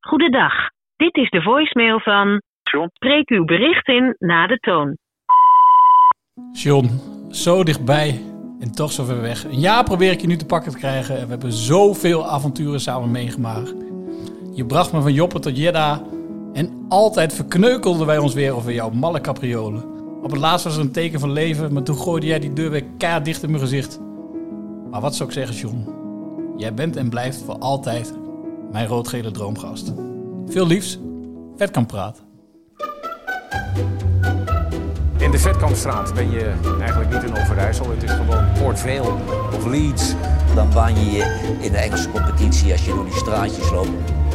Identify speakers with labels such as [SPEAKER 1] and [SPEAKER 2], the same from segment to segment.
[SPEAKER 1] Goedendag. Dit is de voicemail van.
[SPEAKER 2] John.
[SPEAKER 1] Spreek uw bericht in na de toon.
[SPEAKER 3] John, zo dichtbij en toch zo ver weg. Een jaar probeer ik je nu te pakken te krijgen en we hebben zoveel avonturen samen meegemaakt. Je bracht me van Joppe tot Jeddah en altijd verkneukelden wij ons weer over jouw malle capriolen. Op het laatst was er een teken van leven, maar toen gooide jij die deur weer keihard dicht in mijn gezicht. Maar wat zou ik zeggen, John? Jij bent en blijft voor altijd mijn roodgele droomgast. Veel liefs, vet kan praten.
[SPEAKER 4] In de Vetkampstraat ben je eigenlijk niet in Overijssel. Het is gewoon Port Vale of Leeds.
[SPEAKER 5] Dan baan je je in de Engelse competitie als je door die straatjes loopt.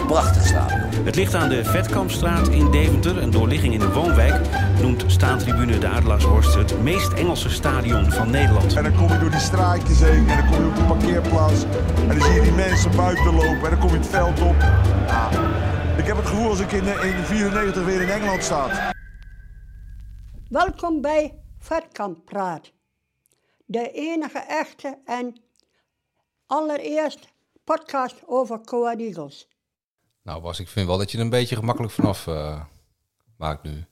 [SPEAKER 5] Prachtig stadion.
[SPEAKER 6] Het ligt aan de Vetkampstraat in Deventer, een doorligging in de woonwijk. Noemt staantribune de Adelaarshorst het meest Engelse stadion van Nederland.
[SPEAKER 7] En dan kom je door die straatjes heen en dan kom je op de parkeerplaats. En dan zie je die mensen buiten lopen en dan kom je het veld op. Ja, ik heb het gevoel als ik in, eh, in 94 weer in Engeland sta.
[SPEAKER 8] Welkom bij Vetkamp Praat. De enige echte en allereerst podcast over Coa Eagles.
[SPEAKER 9] Nou Bas, ik vind wel dat je er een beetje gemakkelijk vanaf eh, maakt nu.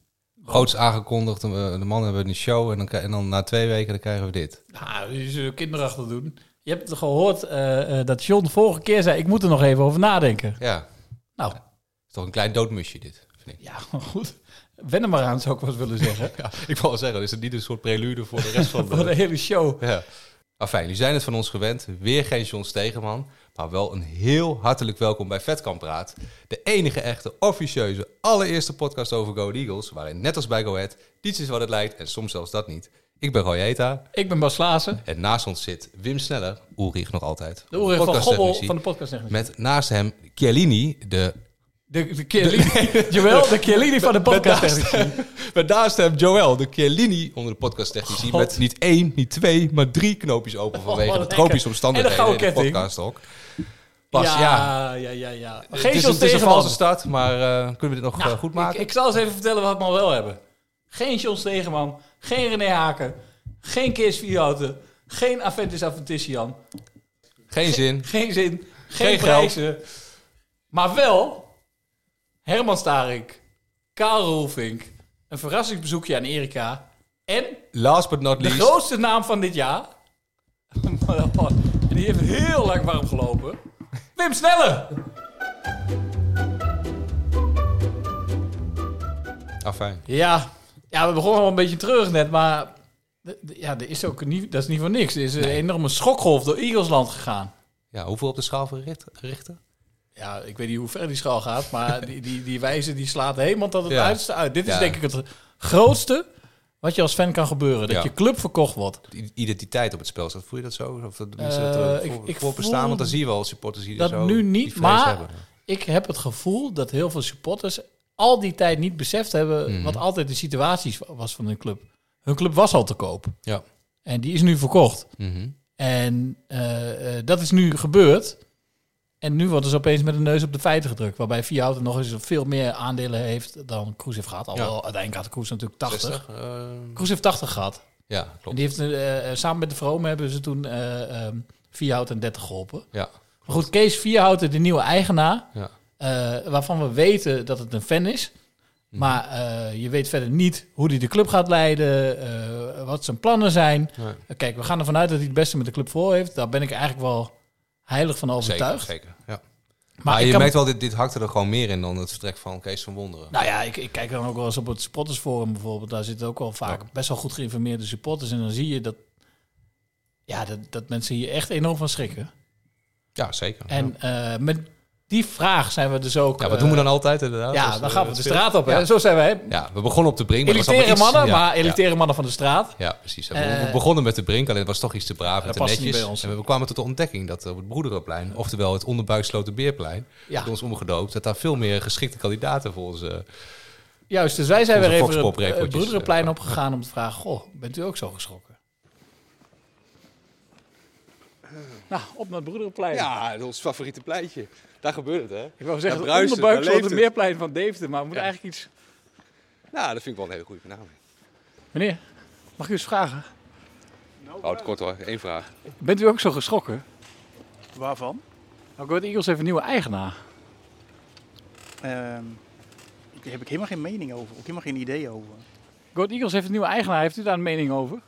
[SPEAKER 9] Groots aangekondigd, eh, de mannen hebben een show en dan, krij- en dan na twee weken dan krijgen we dit.
[SPEAKER 3] Nou, je zult kinderachtig doen. Je hebt het gehoord eh, eh, dat John vorige keer zei: Ik moet er nog even over nadenken.
[SPEAKER 9] Ja,
[SPEAKER 3] Nou,
[SPEAKER 9] is toch een klein doodmusje dit, vind ik.
[SPEAKER 3] ja, maar goed. Wen er maar aan, zou ik wel eens willen zeggen.
[SPEAKER 9] Ja, ik wil wel zeggen, is het niet een soort prelude voor de rest van
[SPEAKER 3] Voor de
[SPEAKER 9] de...
[SPEAKER 3] hele show.
[SPEAKER 9] Ja. Enfin, jullie zijn het van ons gewend. Weer geen John Stegeman, maar wel een heel hartelijk welkom bij Vetkamp Praat. De enige echte, officieuze, allereerste podcast over Go Ahead Eagles, waarin net als bij Go Ahead, niets is wat het lijkt en soms zelfs dat niet. Ik ben Roy Eta.
[SPEAKER 3] Ik ben Bas Klaassen,
[SPEAKER 9] En naast ons zit Wim Sneller, Ulrich nog altijd.
[SPEAKER 3] de oren van Gobbel
[SPEAKER 9] podcasttechnici.
[SPEAKER 3] van de podcast.
[SPEAKER 9] Met naast hem Chiellini, de...
[SPEAKER 3] De, de Chiellini. Jawel, de Chiellini van de podcast.
[SPEAKER 9] Met naast hem Joël, de Chiellini onder de podcasttechnici.
[SPEAKER 3] God. Oh,
[SPEAKER 9] Met niet één, niet twee, maar drie knoopjes open vanwege
[SPEAKER 3] wat
[SPEAKER 9] de
[SPEAKER 3] lekker.
[SPEAKER 9] tropische
[SPEAKER 3] En
[SPEAKER 9] omstandigheden
[SPEAKER 3] een
[SPEAKER 9] in
[SPEAKER 3] gouden
[SPEAKER 9] de
[SPEAKER 3] ketting.
[SPEAKER 9] podcasthok. Pas, ja.
[SPEAKER 3] ja, ja, ja. ja.
[SPEAKER 9] Het
[SPEAKER 3] Geen John
[SPEAKER 9] is, een, het is een
[SPEAKER 3] Stegeman. Nou,
[SPEAKER 9] valse start, maar eh, kunnen we dit nog eh, goed maken?
[SPEAKER 3] Ik, ik zal eens even vertellen wat we al wel hebben. Geen John Stegeman, geen René Haken, geen Kees Vierhouten, geen Aventis Aventisian.
[SPEAKER 9] Geen zin.
[SPEAKER 3] Geen zin, geen,
[SPEAKER 9] Geen
[SPEAKER 3] prijzen. Maar wel Herman Starink, Karel Roelvink, een verrassingsbezoekje aan Erika. En
[SPEAKER 9] Last but not
[SPEAKER 3] de
[SPEAKER 9] least,
[SPEAKER 3] grootste naam van dit jaar. en die heeft heel lang warm gelopen. Wim Snelle!
[SPEAKER 9] Ah, fijn.
[SPEAKER 3] Ja, ja we begonnen al een beetje terug net, maar... d- d- Ja, er is ook niet, dat is niet voor niks. Er is een enorme schokgolf door Eaglesland gegaan.
[SPEAKER 9] Ja, hoeveel op de schaal van Richt- richten?
[SPEAKER 3] Ja, ik weet niet hoe ver die schaal gaat, maar die, die, die wijze die slaat helemaal tot het
[SPEAKER 9] Ja.
[SPEAKER 3] uiterste uit. Dit is
[SPEAKER 9] Ja.
[SPEAKER 3] denk ik het grootste wat je als fan kan gebeuren. Dat
[SPEAKER 9] Ja.
[SPEAKER 3] je club verkocht wordt.
[SPEAKER 9] i- identiteit op het spel staat. Voel je dat zo? Of dat mensen
[SPEAKER 3] Eh,
[SPEAKER 9] dat er
[SPEAKER 3] ik-
[SPEAKER 9] voor,
[SPEAKER 3] ik
[SPEAKER 9] voor
[SPEAKER 3] voel
[SPEAKER 9] bestaan? Want dan zie je wel supporters die er
[SPEAKER 3] dat
[SPEAKER 9] zo
[SPEAKER 3] nu
[SPEAKER 9] die
[SPEAKER 3] niet,
[SPEAKER 9] vrees
[SPEAKER 3] maar-
[SPEAKER 9] hebben.
[SPEAKER 3] Ik heb het gevoel dat heel veel supporters al die tijd niet beseft hebben
[SPEAKER 9] Mhm.
[SPEAKER 3] wat altijd de situatie was van hun club. Hun club was al te koop
[SPEAKER 9] Ja.
[SPEAKER 3] en die is nu verkocht.
[SPEAKER 9] Mhm.
[SPEAKER 3] En eh, eh, dat is nu gebeurd. En nu worden ze opeens met de neus op de feiten gedrukt. Waarbij Vierhouten nog eens veel meer aandelen heeft dan Kroes heeft gehad. Alhoewel, uiteindelijk had Kroes natuurlijk 80.
[SPEAKER 9] 60, eh,
[SPEAKER 3] Kroes heeft 80 gehad.
[SPEAKER 9] ja,
[SPEAKER 3] En
[SPEAKER 9] klopt.
[SPEAKER 3] die heeft, eh, eh, samen met de Vrome hebben ze toen eh ehm Vierhouten en 30 geholpen.
[SPEAKER 9] Ja,
[SPEAKER 3] Maar goed, Kees Vierhouten, de nieuwe eigenaar,
[SPEAKER 9] ja.
[SPEAKER 3] eh, waarvan we weten dat het een fan is.
[SPEAKER 9] Mhm.
[SPEAKER 3] Maar eh, je weet verder niet hoe hij de club gaat leiden, eh, wat zijn plannen zijn.
[SPEAKER 9] Nee.
[SPEAKER 3] Eh, Kijk, we gaan ervan uit dat hij het beste met de club voor heeft. Daar ben ik eigenlijk wel heilig van
[SPEAKER 9] Zeker,
[SPEAKER 3] overtuigd.
[SPEAKER 9] zeker. Ja.
[SPEAKER 3] Maar,
[SPEAKER 9] Maar
[SPEAKER 3] ik
[SPEAKER 9] je
[SPEAKER 3] kan-
[SPEAKER 9] merkt wel, dit, dit hakte er gewoon meer in dan het vertrek van Kees van Wonderen.
[SPEAKER 3] Nou ja, ik, ik kijk dan ook wel eens op het supportersforum bijvoorbeeld. Daar zitten ook wel vaak best wel goed geïnformeerde supporters. En dan zie je dat, ja, dat, dat mensen hier echt enorm van schrikken.
[SPEAKER 9] ja, zeker. ja.
[SPEAKER 3] En eh, met die vraag zijn we dus ook...
[SPEAKER 9] ja, wat
[SPEAKER 3] eh,
[SPEAKER 9] doen we dan altijd inderdaad?
[SPEAKER 3] Ja,
[SPEAKER 9] Als,
[SPEAKER 3] dan
[SPEAKER 9] eh,
[SPEAKER 3] gaan we de
[SPEAKER 9] het
[SPEAKER 3] straat op. Hè?
[SPEAKER 9] Ja.
[SPEAKER 3] Zo zijn wij.
[SPEAKER 9] Ja, we begonnen op de brink. maar dat was
[SPEAKER 3] Elitaire
[SPEAKER 9] allemaal iets-
[SPEAKER 3] mannen,
[SPEAKER 9] ja,
[SPEAKER 3] maar
[SPEAKER 9] ja.
[SPEAKER 3] elitaire mannen van de straat.
[SPEAKER 9] Ja, precies. We-
[SPEAKER 3] Eh,
[SPEAKER 9] we begonnen met de brink, alleen het was toch iets te braaf en
[SPEAKER 3] dat
[SPEAKER 9] te
[SPEAKER 3] past niet
[SPEAKER 9] netjes.
[SPEAKER 3] bij ons.
[SPEAKER 9] En we kwamen tot de ontdekking dat op het Broederenplein, oftewel het Onderbuikslotenbeerplein,
[SPEAKER 3] Ja.
[SPEAKER 9] ja. ons omgedoopt, dat daar veel meer geschikte kandidaten voor ons... eh,
[SPEAKER 3] Juist, dus wij zijn weer
[SPEAKER 9] Onze
[SPEAKER 3] even het
[SPEAKER 9] Foxpop
[SPEAKER 3] eh,
[SPEAKER 9] recordertjes,
[SPEAKER 3] Broederenplein opgegaan om te vragen... Goh, bent u ook zo geschrokken? Nou, op naar het Broederenplein.
[SPEAKER 10] Ja, ons favoriete pleintje. Daar gebeurt het, hè?
[SPEAKER 3] Ik wou zeggen,
[SPEAKER 10] Daar
[SPEAKER 3] het
[SPEAKER 10] bruist daar
[SPEAKER 3] onderbuik
[SPEAKER 10] leeft
[SPEAKER 3] het meerplein van Deventer, maar we moeten eigenlijk iets...
[SPEAKER 10] Nou, dat vind ik wel een hele goede benaming.
[SPEAKER 3] Meneer, mag ik u eens vragen?
[SPEAKER 10] Houd Oh, het kort hoor, één vraag.
[SPEAKER 3] Bent u ook zo geschrokken?
[SPEAKER 2] Waarvan?
[SPEAKER 3] Nou, Go Ahead Eagles heeft een nieuwe eigenaar.
[SPEAKER 2] Ehm, daar heb ik helemaal geen mening over, ook helemaal geen idee over.
[SPEAKER 3] Goat Eagles heeft een nieuwe eigenaar. Heeft u daar een mening over?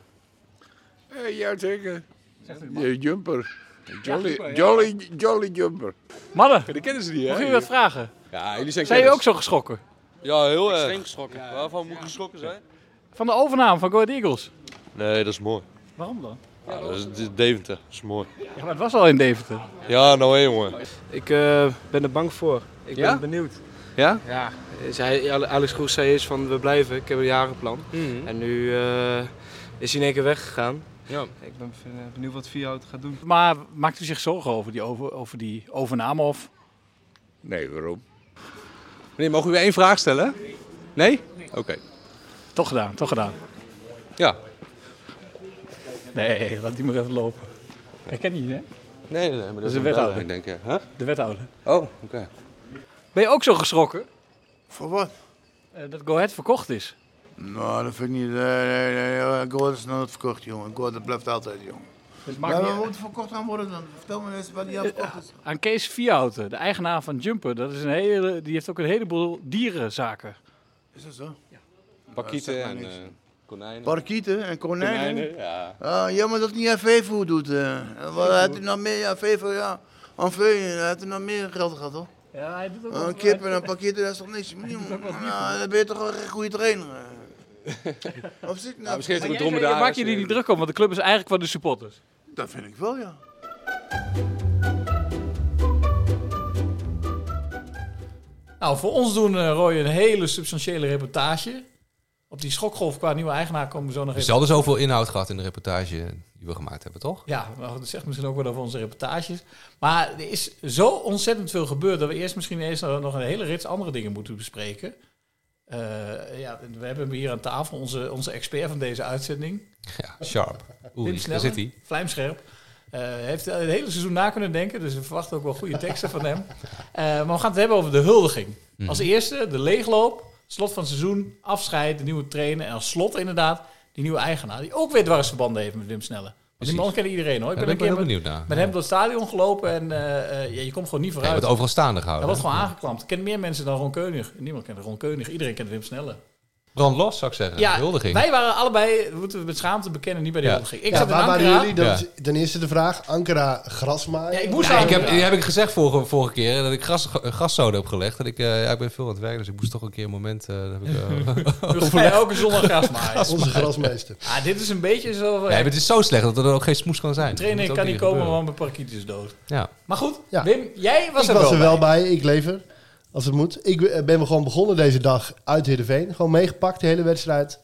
[SPEAKER 11] Eh, ja, zeker. Je jumper. Jolly, jolly, jolly jumper.
[SPEAKER 3] Mannen,
[SPEAKER 11] dat kennen ze niet,
[SPEAKER 3] Mag ik u wat vragen?
[SPEAKER 10] Ja, jullie zijn
[SPEAKER 3] Zijn jullie ook
[SPEAKER 10] kennis.
[SPEAKER 3] zo geschrokken?
[SPEAKER 10] Ja, heel erg.
[SPEAKER 12] Extreem geschrokken. Waarvan moet ik geschrokken zijn?
[SPEAKER 3] Van de overname van Goat Eagles?
[SPEAKER 12] Nee, dat is mooi.
[SPEAKER 3] Waarom dan?
[SPEAKER 12] Ja, dat is dat is Deventer. Dat is mooi.
[SPEAKER 3] Ja, maar het was al in Deventer.
[SPEAKER 12] Ja, nou hé, jongen.
[SPEAKER 13] Ik eh, ben er bang voor. Ik
[SPEAKER 12] Ja?
[SPEAKER 13] ben benieuwd.
[SPEAKER 12] Ja?
[SPEAKER 13] Ja, zei, Alex Groes zei eens van we blijven, ik heb een jarenplan.
[SPEAKER 12] Mhm.
[SPEAKER 13] En nu eh, is hij in één keer weggegaan.
[SPEAKER 12] Ja.
[SPEAKER 13] Ik ben eh, benieuwd wat Vierhout gaat doen.
[SPEAKER 3] Maar maakt u zich zorgen over die, over, over die overname? Of?
[SPEAKER 11] Nee, waarom?
[SPEAKER 9] Meneer, mogen we u één vraag stellen? Nee? Oké.
[SPEAKER 3] Toch gedaan, toch gedaan.
[SPEAKER 9] Ja.
[SPEAKER 3] Nee, laat die maar even lopen. Ik ken niet, hè?
[SPEAKER 12] Nee, nee, nee, maar dat
[SPEAKER 3] is
[SPEAKER 12] is
[SPEAKER 3] een
[SPEAKER 12] een
[SPEAKER 3] wethouder.
[SPEAKER 12] wethouder, ik denk, hè?
[SPEAKER 3] De wethouder.
[SPEAKER 12] Oh, oké.
[SPEAKER 3] Ben je ook zo geschrokken
[SPEAKER 14] Voor wat?
[SPEAKER 3] eh, dat Go Ahead verkocht is?
[SPEAKER 14] Nou, dat vind ik niet. Nee, nee, nee. eh, Gordon is nooit verkocht, jongen. Gordon blijft altijd, jongen.
[SPEAKER 3] Het maakt
[SPEAKER 14] Maar
[SPEAKER 3] niet
[SPEAKER 14] we
[SPEAKER 3] uit.
[SPEAKER 14] moeten verkocht gaan worden dan. Vertel me eens wat die
[SPEAKER 3] Eh,
[SPEAKER 14] afkocht is.
[SPEAKER 3] Aan Kees Vierhouten, de eigenaar van Jumper. Dat is een hele, die heeft ook een heleboel dierenzaken.
[SPEAKER 14] Is dat zo?
[SPEAKER 10] Pakieten
[SPEAKER 14] Ja, dat
[SPEAKER 10] en
[SPEAKER 14] zegt mij
[SPEAKER 10] eh, konijnen.
[SPEAKER 14] Parkieten en konijnen.
[SPEAKER 10] Konijnen, ja.
[SPEAKER 14] Ah, jammer dat hij niet aan veevoer doet. eh. Wat had hij nog meer? Ja, veevoer, ja. Aan vee, had hij nog meer geld gehad, hoor.
[SPEAKER 3] Ja, hij
[SPEAKER 9] Oh.
[SPEAKER 3] doet ook
[SPEAKER 14] Een
[SPEAKER 3] wel-
[SPEAKER 14] kip en een parkieten, Oh, dat is toch niks? Nou, dan ben je toch wel een goede trainer. eh. of zit ik nou?
[SPEAKER 10] misschien heeft hij
[SPEAKER 3] Maar jij zei, je maak je er niet druk om, want de club is eigenlijk van de supporters.
[SPEAKER 14] Dat vind ik wel, ja.
[SPEAKER 3] Nou, voor ons doen eh, Roy een hele substantiële reportage. Op die schokgolf qua nieuwe eigenaar komen we zo nog
[SPEAKER 9] Er
[SPEAKER 3] even.
[SPEAKER 9] is al zoveel inhoud gehad in de reportage die we gemaakt hebben, toch?
[SPEAKER 3] Ja, nou, dat zegt misschien ook wat over onze reportages. Maar er is zo ontzettend veel gebeurd dat we eerst misschien eerst nog nog een hele rits andere dingen moeten bespreken. Eh, ja, we hebben hier aan tafel onze, onze expert van deze uitzending.
[SPEAKER 9] Ja, sharp. Oeh,
[SPEAKER 3] Tim
[SPEAKER 9] daar
[SPEAKER 3] Sneller,
[SPEAKER 9] zit hij.
[SPEAKER 3] Vlijmscherp. Eh, heeft het hele seizoen na kunnen denken, dus we verwachten ook wel goede teksten van hem. Eh, maar we gaan het hebben over de huldiging.
[SPEAKER 9] Mhm.
[SPEAKER 3] Als eerste de leegloop, slot van het seizoen, afscheid, de nieuwe trainer. En als slot inderdaad die nieuwe eigenaar, die ook weer dwarsverbanden heeft met Wim Snelle. Want die man kent iedereen hoor.
[SPEAKER 9] Ja, daar ben ik wel
[SPEAKER 3] een keer
[SPEAKER 9] heel
[SPEAKER 3] met-
[SPEAKER 9] benieuwd naar.
[SPEAKER 3] Met hem door het stadion gelopen en eh, eh, ja, je komt gewoon niet
[SPEAKER 9] Ja, je
[SPEAKER 3] vooruit.
[SPEAKER 9] wordt overal staande
[SPEAKER 3] Hij
[SPEAKER 9] gehouden.
[SPEAKER 3] wordt gewoon aangeklampt. Kent meer mensen dan Ron Keunig. Niemand kent Ron Keunig. Iedereen kent Wim Snelle.
[SPEAKER 9] Brand los, zou ik zeggen.
[SPEAKER 3] Ja,
[SPEAKER 9] Huldiging.
[SPEAKER 3] wij waren allebei, moeten we met schaamte bekennen, niet bij de
[SPEAKER 9] Ja.
[SPEAKER 3] huldiging. Ik
[SPEAKER 15] Ja,
[SPEAKER 3] zat in
[SPEAKER 15] waar waren
[SPEAKER 3] Ankara.
[SPEAKER 15] jullie? Dat
[SPEAKER 9] Ja.
[SPEAKER 15] is ten eerste de vraag. Ankara grasmaaien.
[SPEAKER 3] Ja, ik
[SPEAKER 9] Ja, ik heb, heb ik gezegd vorige, vorige keer dat ik gas, gaszoden heb gelegd. Dat ik, eh, ja, ik ben veel aan het werken, dus ik moest toch een keer een moment. eh, dat heb ik, eh,
[SPEAKER 3] Dus ga je elke zondag grasmaaien.
[SPEAKER 15] Onze grasmeester.
[SPEAKER 3] Ah, dit is een beetje zo...
[SPEAKER 9] Nee, maar het is zo slecht dat er ook geen smoes kan zijn.
[SPEAKER 3] De
[SPEAKER 9] Dat
[SPEAKER 3] Oh, trainer
[SPEAKER 9] moet
[SPEAKER 3] kan
[SPEAKER 9] ook
[SPEAKER 3] niet
[SPEAKER 9] een keer
[SPEAKER 3] komen,
[SPEAKER 9] gebeuren.
[SPEAKER 3] want mijn parkiet is dood.
[SPEAKER 9] Ja.
[SPEAKER 3] Maar goed, Wim, jij was
[SPEAKER 15] ik
[SPEAKER 3] er
[SPEAKER 15] was
[SPEAKER 3] wel
[SPEAKER 15] er wel bij. Ik lever. Als het moet. Ik eh, ben gewoon begonnen deze dag uit Heerenveen. Gewoon meegepakt de hele wedstrijd.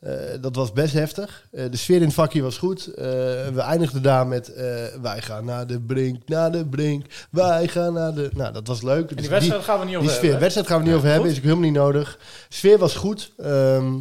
[SPEAKER 15] Eh, dat was best heftig. Eh, de sfeer in het vakje was goed. Eh, we eindigden daar met eh, wij gaan naar de brink, naar de brink. Wij gaan naar de... Nou, dat was leuk. Dus
[SPEAKER 3] wedstrijd gaan we niet over
[SPEAKER 15] die
[SPEAKER 3] hebben,
[SPEAKER 15] sfeer,
[SPEAKER 3] hè?
[SPEAKER 15] wedstrijd gaan we niet
[SPEAKER 3] Ja,
[SPEAKER 15] over hebben.
[SPEAKER 3] goed.
[SPEAKER 15] Is ook helemaal niet nodig. Sfeer was goed. Ehm,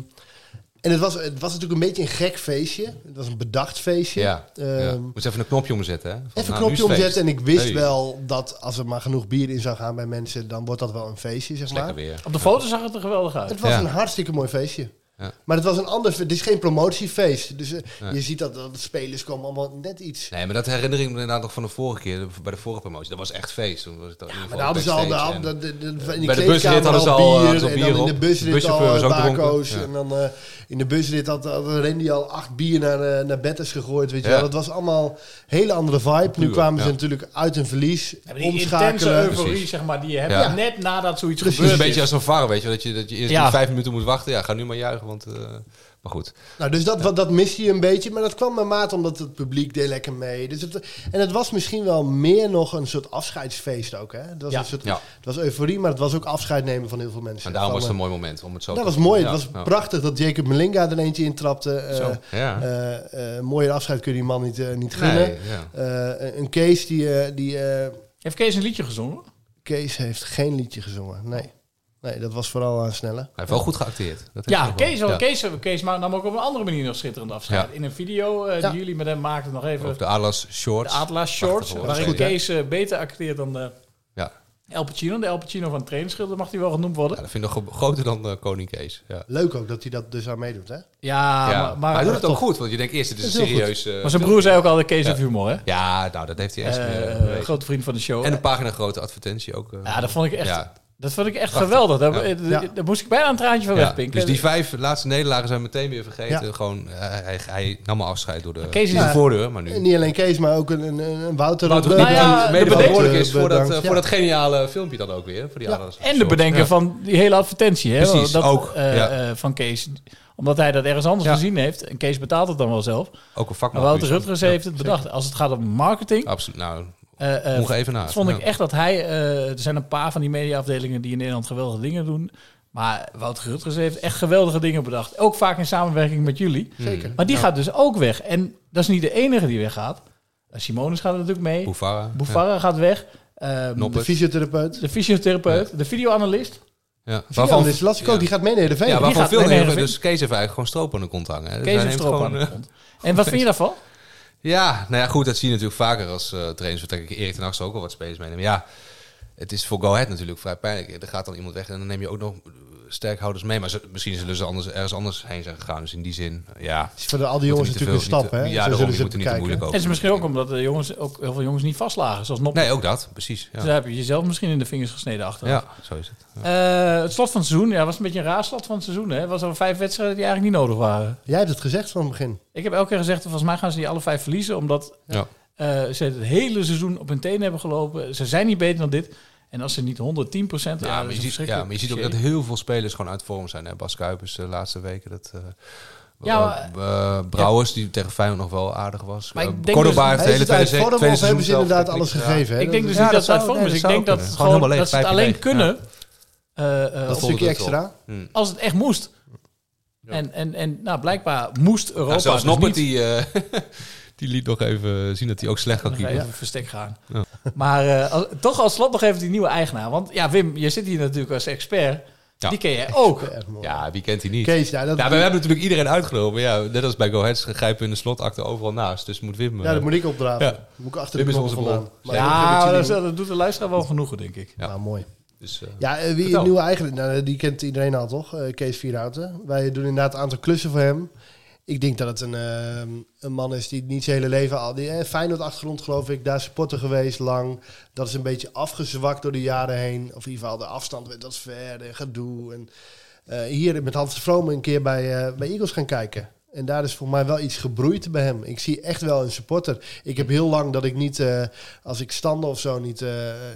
[SPEAKER 15] en het was, het was natuurlijk een beetje een gek feestje. Het was een bedacht feestje.
[SPEAKER 9] Ja, ja.
[SPEAKER 15] Ehm,
[SPEAKER 9] Moet even een knopje omzetten. Hè? Van, nou,
[SPEAKER 15] Even
[SPEAKER 9] nu
[SPEAKER 15] een
[SPEAKER 9] is
[SPEAKER 15] knopje
[SPEAKER 9] het
[SPEAKER 15] omzetten.
[SPEAKER 9] feest.
[SPEAKER 15] En ik wist
[SPEAKER 9] Hey.
[SPEAKER 15] wel dat als er maar genoeg bier in zou gaan bij mensen, dan wordt dat wel een feestje, zeg maar.
[SPEAKER 9] lekker weer.
[SPEAKER 3] Op de foto zag het er geweldig uit.
[SPEAKER 15] Het was
[SPEAKER 9] Ja.
[SPEAKER 15] een hartstikke mooi feestje.
[SPEAKER 9] Ja.
[SPEAKER 15] Maar het was een ander, fe- het is geen promotiefeest. Dus eh,
[SPEAKER 9] Nee.
[SPEAKER 15] je ziet dat, dat de spelers komen allemaal net iets.
[SPEAKER 9] Nee, maar dat herinner ik me inderdaad nog van de vorige keer, bij de vorige promotie. Dat was echt feest. Toen was het in ieder
[SPEAKER 15] Maar
[SPEAKER 9] geval
[SPEAKER 15] daar hadden ze al, de,
[SPEAKER 9] backstage en-
[SPEAKER 15] de, de- de- in de
[SPEAKER 9] bij de
[SPEAKER 15] kleedkamer
[SPEAKER 9] busrit hadden ze
[SPEAKER 15] al
[SPEAKER 9] al,
[SPEAKER 15] bier,
[SPEAKER 9] hadden ze al bier
[SPEAKER 15] en dan
[SPEAKER 9] op.
[SPEAKER 15] in de
[SPEAKER 9] De
[SPEAKER 15] busrit al
[SPEAKER 9] buschauffeur was
[SPEAKER 15] eh,
[SPEAKER 9] ook dronken.
[SPEAKER 15] bako's.
[SPEAKER 9] Ja.
[SPEAKER 15] En dan eh, in de busrit had, had Randy al acht bier naar, eh, naar bed is gegooid. Weet je
[SPEAKER 9] Ja.
[SPEAKER 15] wel. Dat was allemaal een hele andere vibe. nu
[SPEAKER 9] Puur,
[SPEAKER 15] kwamen ze
[SPEAKER 9] ja.
[SPEAKER 15] natuurlijk uit een verlies,
[SPEAKER 3] Ja, maar Die intense
[SPEAKER 15] omschakelen.
[SPEAKER 3] euforie, zeg maar, die je hebt
[SPEAKER 9] Ja.
[SPEAKER 3] net nadat zoiets
[SPEAKER 9] Het is
[SPEAKER 3] gebeurd
[SPEAKER 9] een beetje
[SPEAKER 3] is.
[SPEAKER 9] als een VAR, weet je. Dat je, dat je eerst
[SPEAKER 3] Ja.
[SPEAKER 9] die vijf minuten moet wachten. Ja, ga nu maar juichen, want... eh, maar goed.
[SPEAKER 15] Nou, dus dat, wat dat miste je een beetje. Maar dat kwam bij maat omdat het publiek deed lekker mee. Dus het, en het was misschien wel meer nog een soort afscheidsfeest ook. Hè? Het, was
[SPEAKER 9] Ja.
[SPEAKER 15] een soort,
[SPEAKER 9] Ja.
[SPEAKER 15] het was euforie, maar het was ook afscheid nemen van heel veel mensen.
[SPEAKER 9] En daarom
[SPEAKER 15] Van,
[SPEAKER 9] was het een
[SPEAKER 15] eh,
[SPEAKER 9] mooi moment om het zo
[SPEAKER 15] dat
[SPEAKER 9] te
[SPEAKER 15] was mooi.
[SPEAKER 9] Ja,
[SPEAKER 15] het was
[SPEAKER 9] ja.
[SPEAKER 15] prachtig dat Jacob Melinga er eentje intrapte. Eh
[SPEAKER 9] Zo, ja.
[SPEAKER 15] eh, eh, mooier afscheid kun je die man niet, eh, niet
[SPEAKER 9] Nee,
[SPEAKER 15] gunnen.
[SPEAKER 9] ja.
[SPEAKER 15] Eh, een Kees die... eh, die eh,
[SPEAKER 3] Heeft Kees een liedje gezongen?
[SPEAKER 15] Kees heeft geen liedje gezongen, nee. Nee, dat was vooral aan Snelle. Hij
[SPEAKER 9] heeft wel goed geacteerd. Dat heeft
[SPEAKER 3] Ja,
[SPEAKER 9] hij wel.
[SPEAKER 3] Kees, wel.
[SPEAKER 9] Ja.
[SPEAKER 3] Kees, Kees ma- nam ook op een andere manier nog schitterend afscheid.
[SPEAKER 9] Ja.
[SPEAKER 3] In een video eh, die jullie met hem maakten, nog even
[SPEAKER 9] Of de Atlas
[SPEAKER 3] de
[SPEAKER 9] Shorts.
[SPEAKER 3] Atlas Shorts,
[SPEAKER 9] Prachtige
[SPEAKER 3] waarin
[SPEAKER 9] optreden.
[SPEAKER 3] Kees eh, beter acteert dan de
[SPEAKER 9] Ja.
[SPEAKER 3] El Pacino. De El Pacino van Trainerschilder mag hij wel genoemd worden.
[SPEAKER 9] Ja, dat vind ik nog groter dan eh, Koning Kees. Ja.
[SPEAKER 15] Leuk ook dat hij dat dus aan meedoet, hè?
[SPEAKER 3] Ja,
[SPEAKER 9] Ja,
[SPEAKER 3] Ah, maar, eh,
[SPEAKER 9] maar hij doet het ook
[SPEAKER 3] toch-
[SPEAKER 9] goed, want je denkt eerst, het is
[SPEAKER 3] Dat
[SPEAKER 9] een
[SPEAKER 3] heel goed.
[SPEAKER 9] serieus, eh,
[SPEAKER 3] maar zijn broer zei ook al de Kees heeft humor, hè?
[SPEAKER 9] Ja, nou, dat heeft hij echt...
[SPEAKER 3] Eh,
[SPEAKER 9] eh,
[SPEAKER 3] eh,
[SPEAKER 9] bewezen.
[SPEAKER 3] grote vriend van de show.
[SPEAKER 9] En een pagina grote advertentie ook. eh.
[SPEAKER 3] Ja, dat vond ik echt.
[SPEAKER 9] Ja.
[SPEAKER 3] Dat vond ik echt
[SPEAKER 9] Prachtig.
[SPEAKER 3] geweldig. Daar,
[SPEAKER 9] Ja.
[SPEAKER 3] eh, daar moest ik bijna een traantje van
[SPEAKER 9] Ja,
[SPEAKER 3] wegpinken.
[SPEAKER 9] dus die vijf laatste nederlagen zijn meteen weer vergeten. Gewoon, eh, hij, hij nam me afscheid door de,
[SPEAKER 3] Kees is
[SPEAKER 9] door de
[SPEAKER 3] een-
[SPEAKER 9] voordeur. Maar nu. Nou,
[SPEAKER 15] Niet alleen Kees, maar ook een, een, een
[SPEAKER 9] Wouter
[SPEAKER 15] Wouter.
[SPEAKER 3] Nou
[SPEAKER 15] Leuk,
[SPEAKER 9] Knoop,
[SPEAKER 15] eh,
[SPEAKER 9] die mede
[SPEAKER 15] bedankt,
[SPEAKER 9] verantwoordelijk
[SPEAKER 15] eh,
[SPEAKER 9] is voor dat, eh,
[SPEAKER 15] bedankt.
[SPEAKER 9] voor
[SPEAKER 15] Ja.
[SPEAKER 9] dat geniale filmpje dan ook weer. Voor die adres-
[SPEAKER 3] En de bedenker
[SPEAKER 9] Ja.
[SPEAKER 3] van die hele advertentie. Hè?
[SPEAKER 9] Precies,
[SPEAKER 3] dat,
[SPEAKER 9] ook,
[SPEAKER 3] eh,
[SPEAKER 9] ja.
[SPEAKER 3] eh, van Kees. Omdat hij dat ergens anders gezien heeft. En Kees betaalt het dan wel zelf.
[SPEAKER 9] Ook een vakman.
[SPEAKER 3] Maar Wouter
[SPEAKER 9] puur zo.
[SPEAKER 3] Rutgers
[SPEAKER 9] Nou, Ja,
[SPEAKER 3] heeft het bedacht. Als het gaat om marketing.
[SPEAKER 9] Absoluut. Nou,
[SPEAKER 3] eh, eh,
[SPEAKER 9] ongeëvenaard,
[SPEAKER 3] Vond ik
[SPEAKER 9] ja.
[SPEAKER 3] echt dat hij... eh, er zijn een paar van die mediaafdelingen die in Nederland geweldige dingen doen. Maar Wouter Rutgers heeft echt geweldige dingen bedacht. Ook vaak in samenwerking met jullie.
[SPEAKER 9] Zeker.
[SPEAKER 3] Maar die
[SPEAKER 9] Ja.
[SPEAKER 3] gaat dus ook weg. En dat is niet de enige die weggaat. Eh, Simonis gaat er natuurlijk mee.
[SPEAKER 9] Boefara.
[SPEAKER 3] Boefara gaat weg. Ehm,
[SPEAKER 9] Noppert. De
[SPEAKER 15] fysiotherapeut.
[SPEAKER 3] De fysiotherapeut. De videoanalist.
[SPEAKER 9] Dus Ja.
[SPEAKER 15] Waarvan is lastig ook, die gaat mee naar de
[SPEAKER 9] Ja,
[SPEAKER 3] Die
[SPEAKER 9] waarvan
[SPEAKER 3] gaat
[SPEAKER 9] veel
[SPEAKER 3] mee naar
[SPEAKER 9] hebben
[SPEAKER 3] Heerenveen.
[SPEAKER 9] dus Kees heeft eigenlijk gewoon stroop aan de kont hangen. hè. Dus
[SPEAKER 3] Kees
[SPEAKER 9] hij
[SPEAKER 3] heeft
[SPEAKER 9] neemt
[SPEAKER 3] stroop
[SPEAKER 9] gewoon,
[SPEAKER 3] aan de
[SPEAKER 9] eh,
[SPEAKER 3] kont. En wat vind je daarvan?
[SPEAKER 9] Ja, nou ja, goed, dat zie je natuurlijk vaker als eh trainers vertrekken. Erik ten Hag zal ook al wat spelers meenemen. Ja, het is voor Go Ahead natuurlijk vrij pijnlijk. Er gaat dan iemand weg en dan neem je ook nog eh, sterkhouders mee. Maar ze- misschien zullen ze anders, ergens anders heen zijn gegaan. Dus in die zin, ja.
[SPEAKER 15] Is voor de- al
[SPEAKER 9] Moeten
[SPEAKER 15] die jongens
[SPEAKER 9] niet te
[SPEAKER 15] natuurlijk
[SPEAKER 9] veel-
[SPEAKER 15] een stap,
[SPEAKER 9] niet te-
[SPEAKER 15] hè? Zo
[SPEAKER 9] Ja, daarom,
[SPEAKER 15] zullen
[SPEAKER 9] je
[SPEAKER 15] ze
[SPEAKER 9] moet er niet te
[SPEAKER 15] bekijken.
[SPEAKER 9] moeilijk
[SPEAKER 3] Het
[SPEAKER 9] over.
[SPEAKER 3] is misschien ook omdat de jongens ook heel veel jongens niet vastlagen, zoals Noppen.
[SPEAKER 9] Nee, ook dat, precies.
[SPEAKER 3] Dus
[SPEAKER 9] Ja,
[SPEAKER 3] daar heb je jezelf misschien in de vingers gesneden achter. Eh,
[SPEAKER 9] ja zo is het.
[SPEAKER 3] het slot van het seizoen, ja, was een beetje een raar slot van het seizoen. Hè? Was al vijf wedstrijden die eigenlijk niet nodig waren.
[SPEAKER 15] Jij hebt het gezegd van het begin.
[SPEAKER 3] Ik heb elke keer gezegd, volgens mij gaan ze die alle vijf verliezen, omdat
[SPEAKER 9] Ja.
[SPEAKER 3] eh, ze het hele seizoen op hun tenen hebben gelopen. Ze zijn niet beter dan dit. En als ze niet 110 procent...
[SPEAKER 9] Ja, maar je ziet, ja, maar je ziet ook dat heel veel spelers gewoon uit vorm zijn. Hè? Bas Kuipers de laatste weken. Dat, eh,
[SPEAKER 3] Ja,
[SPEAKER 9] eh,
[SPEAKER 3] maar-
[SPEAKER 9] eh, Brouwers, die tegen Feyenoord nog wel aardig was.
[SPEAKER 3] Maar ik
[SPEAKER 9] Eh,
[SPEAKER 3] denk
[SPEAKER 9] Cordoba
[SPEAKER 3] dus-
[SPEAKER 9] heeft
[SPEAKER 3] Hij
[SPEAKER 9] de
[SPEAKER 3] is
[SPEAKER 9] hele
[SPEAKER 3] het
[SPEAKER 9] tweede,
[SPEAKER 3] uit vorm
[SPEAKER 9] tweede
[SPEAKER 15] of
[SPEAKER 9] seizoen
[SPEAKER 15] hebben ze
[SPEAKER 9] zelf
[SPEAKER 15] inderdaad
[SPEAKER 9] niks
[SPEAKER 15] alles
[SPEAKER 9] gedaan.
[SPEAKER 15] gegeven, hè?
[SPEAKER 3] Ik denk dus
[SPEAKER 9] Ja,
[SPEAKER 3] niet dat
[SPEAKER 9] dat
[SPEAKER 3] ze uit
[SPEAKER 9] zou-
[SPEAKER 3] vorm
[SPEAKER 9] nee,
[SPEAKER 3] is. Ik
[SPEAKER 9] dat
[SPEAKER 3] denk
[SPEAKER 9] zou
[SPEAKER 3] dat,
[SPEAKER 9] kunnen.
[SPEAKER 3] het
[SPEAKER 9] Gewoon
[SPEAKER 3] gewoon,
[SPEAKER 9] helemaal
[SPEAKER 3] dat
[SPEAKER 9] leeg,
[SPEAKER 3] ze het alleen
[SPEAKER 9] vijf tegen
[SPEAKER 3] kunnen...
[SPEAKER 9] één,
[SPEAKER 3] eh, eh,
[SPEAKER 9] Dat
[SPEAKER 3] op-
[SPEAKER 9] vond ik
[SPEAKER 15] Stukje
[SPEAKER 9] het wel.
[SPEAKER 15] extra.
[SPEAKER 9] Hmm.
[SPEAKER 3] als het echt moest. En, en, en nou, blijkbaar moest Europa
[SPEAKER 9] Nou, zelfs
[SPEAKER 3] dus
[SPEAKER 9] Noppert,
[SPEAKER 3] niet.
[SPEAKER 9] die, eh, die liet nog even zien dat hij ook slecht kan
[SPEAKER 3] Nog even
[SPEAKER 9] keeper.
[SPEAKER 3] een verstek gaan.
[SPEAKER 9] Ja.
[SPEAKER 3] Maar eh, als- toch als slot nog even die nieuwe eigenaar. Want ja, Wim, je zit hier natuurlijk als expert.
[SPEAKER 9] Ja.
[SPEAKER 3] Die ken jij ook.
[SPEAKER 9] Ja, wie kent hij niet?
[SPEAKER 15] Kees, ja, dat-
[SPEAKER 9] maar we hebben natuurlijk iedereen uitgenomen. Ja, net als bij Go Ahead grijpen we in de slotakte overal naast. Dus moet Wim... eh,
[SPEAKER 15] Ja, dat moet ik opdraven.
[SPEAKER 9] Ja.
[SPEAKER 15] Moet ik achter
[SPEAKER 9] Wim
[SPEAKER 15] de
[SPEAKER 9] is
[SPEAKER 15] knoppen
[SPEAKER 9] onze
[SPEAKER 15] vandaan.
[SPEAKER 9] bron.
[SPEAKER 15] Maar
[SPEAKER 3] ja,
[SPEAKER 15] dat-
[SPEAKER 3] dat, dat doet de luisteraar wel genoegen, denk ik.
[SPEAKER 9] Ja,
[SPEAKER 15] mooi.
[SPEAKER 9] Dus, eh,
[SPEAKER 15] Ja, eh, wie
[SPEAKER 9] vertel.
[SPEAKER 15] nieuwe eigenaar, nou, die kent iedereen al toch? Eh, Kees Vierhouten. Wij doen inderdaad een aantal klussen voor hem. Ik denk dat het een, ehm, een man is die niet zijn hele leven al... Die, eh, Feyenoord-achtergrond geloof ik, daar supporter geweest lang. Dat is een beetje afgezwakt door de jaren heen. Of in ieder geval de afstand werd dat ver en gedoe. En, eh, hier met Hans Vroom een keer bij, eh, bij Eagles gaan kijken. En daar is voor mij wel iets gebroeid bij hem. Ik zie echt wel een supporter. Ik heb heel lang dat ik niet, eh, als ik standen of zo niet, eh,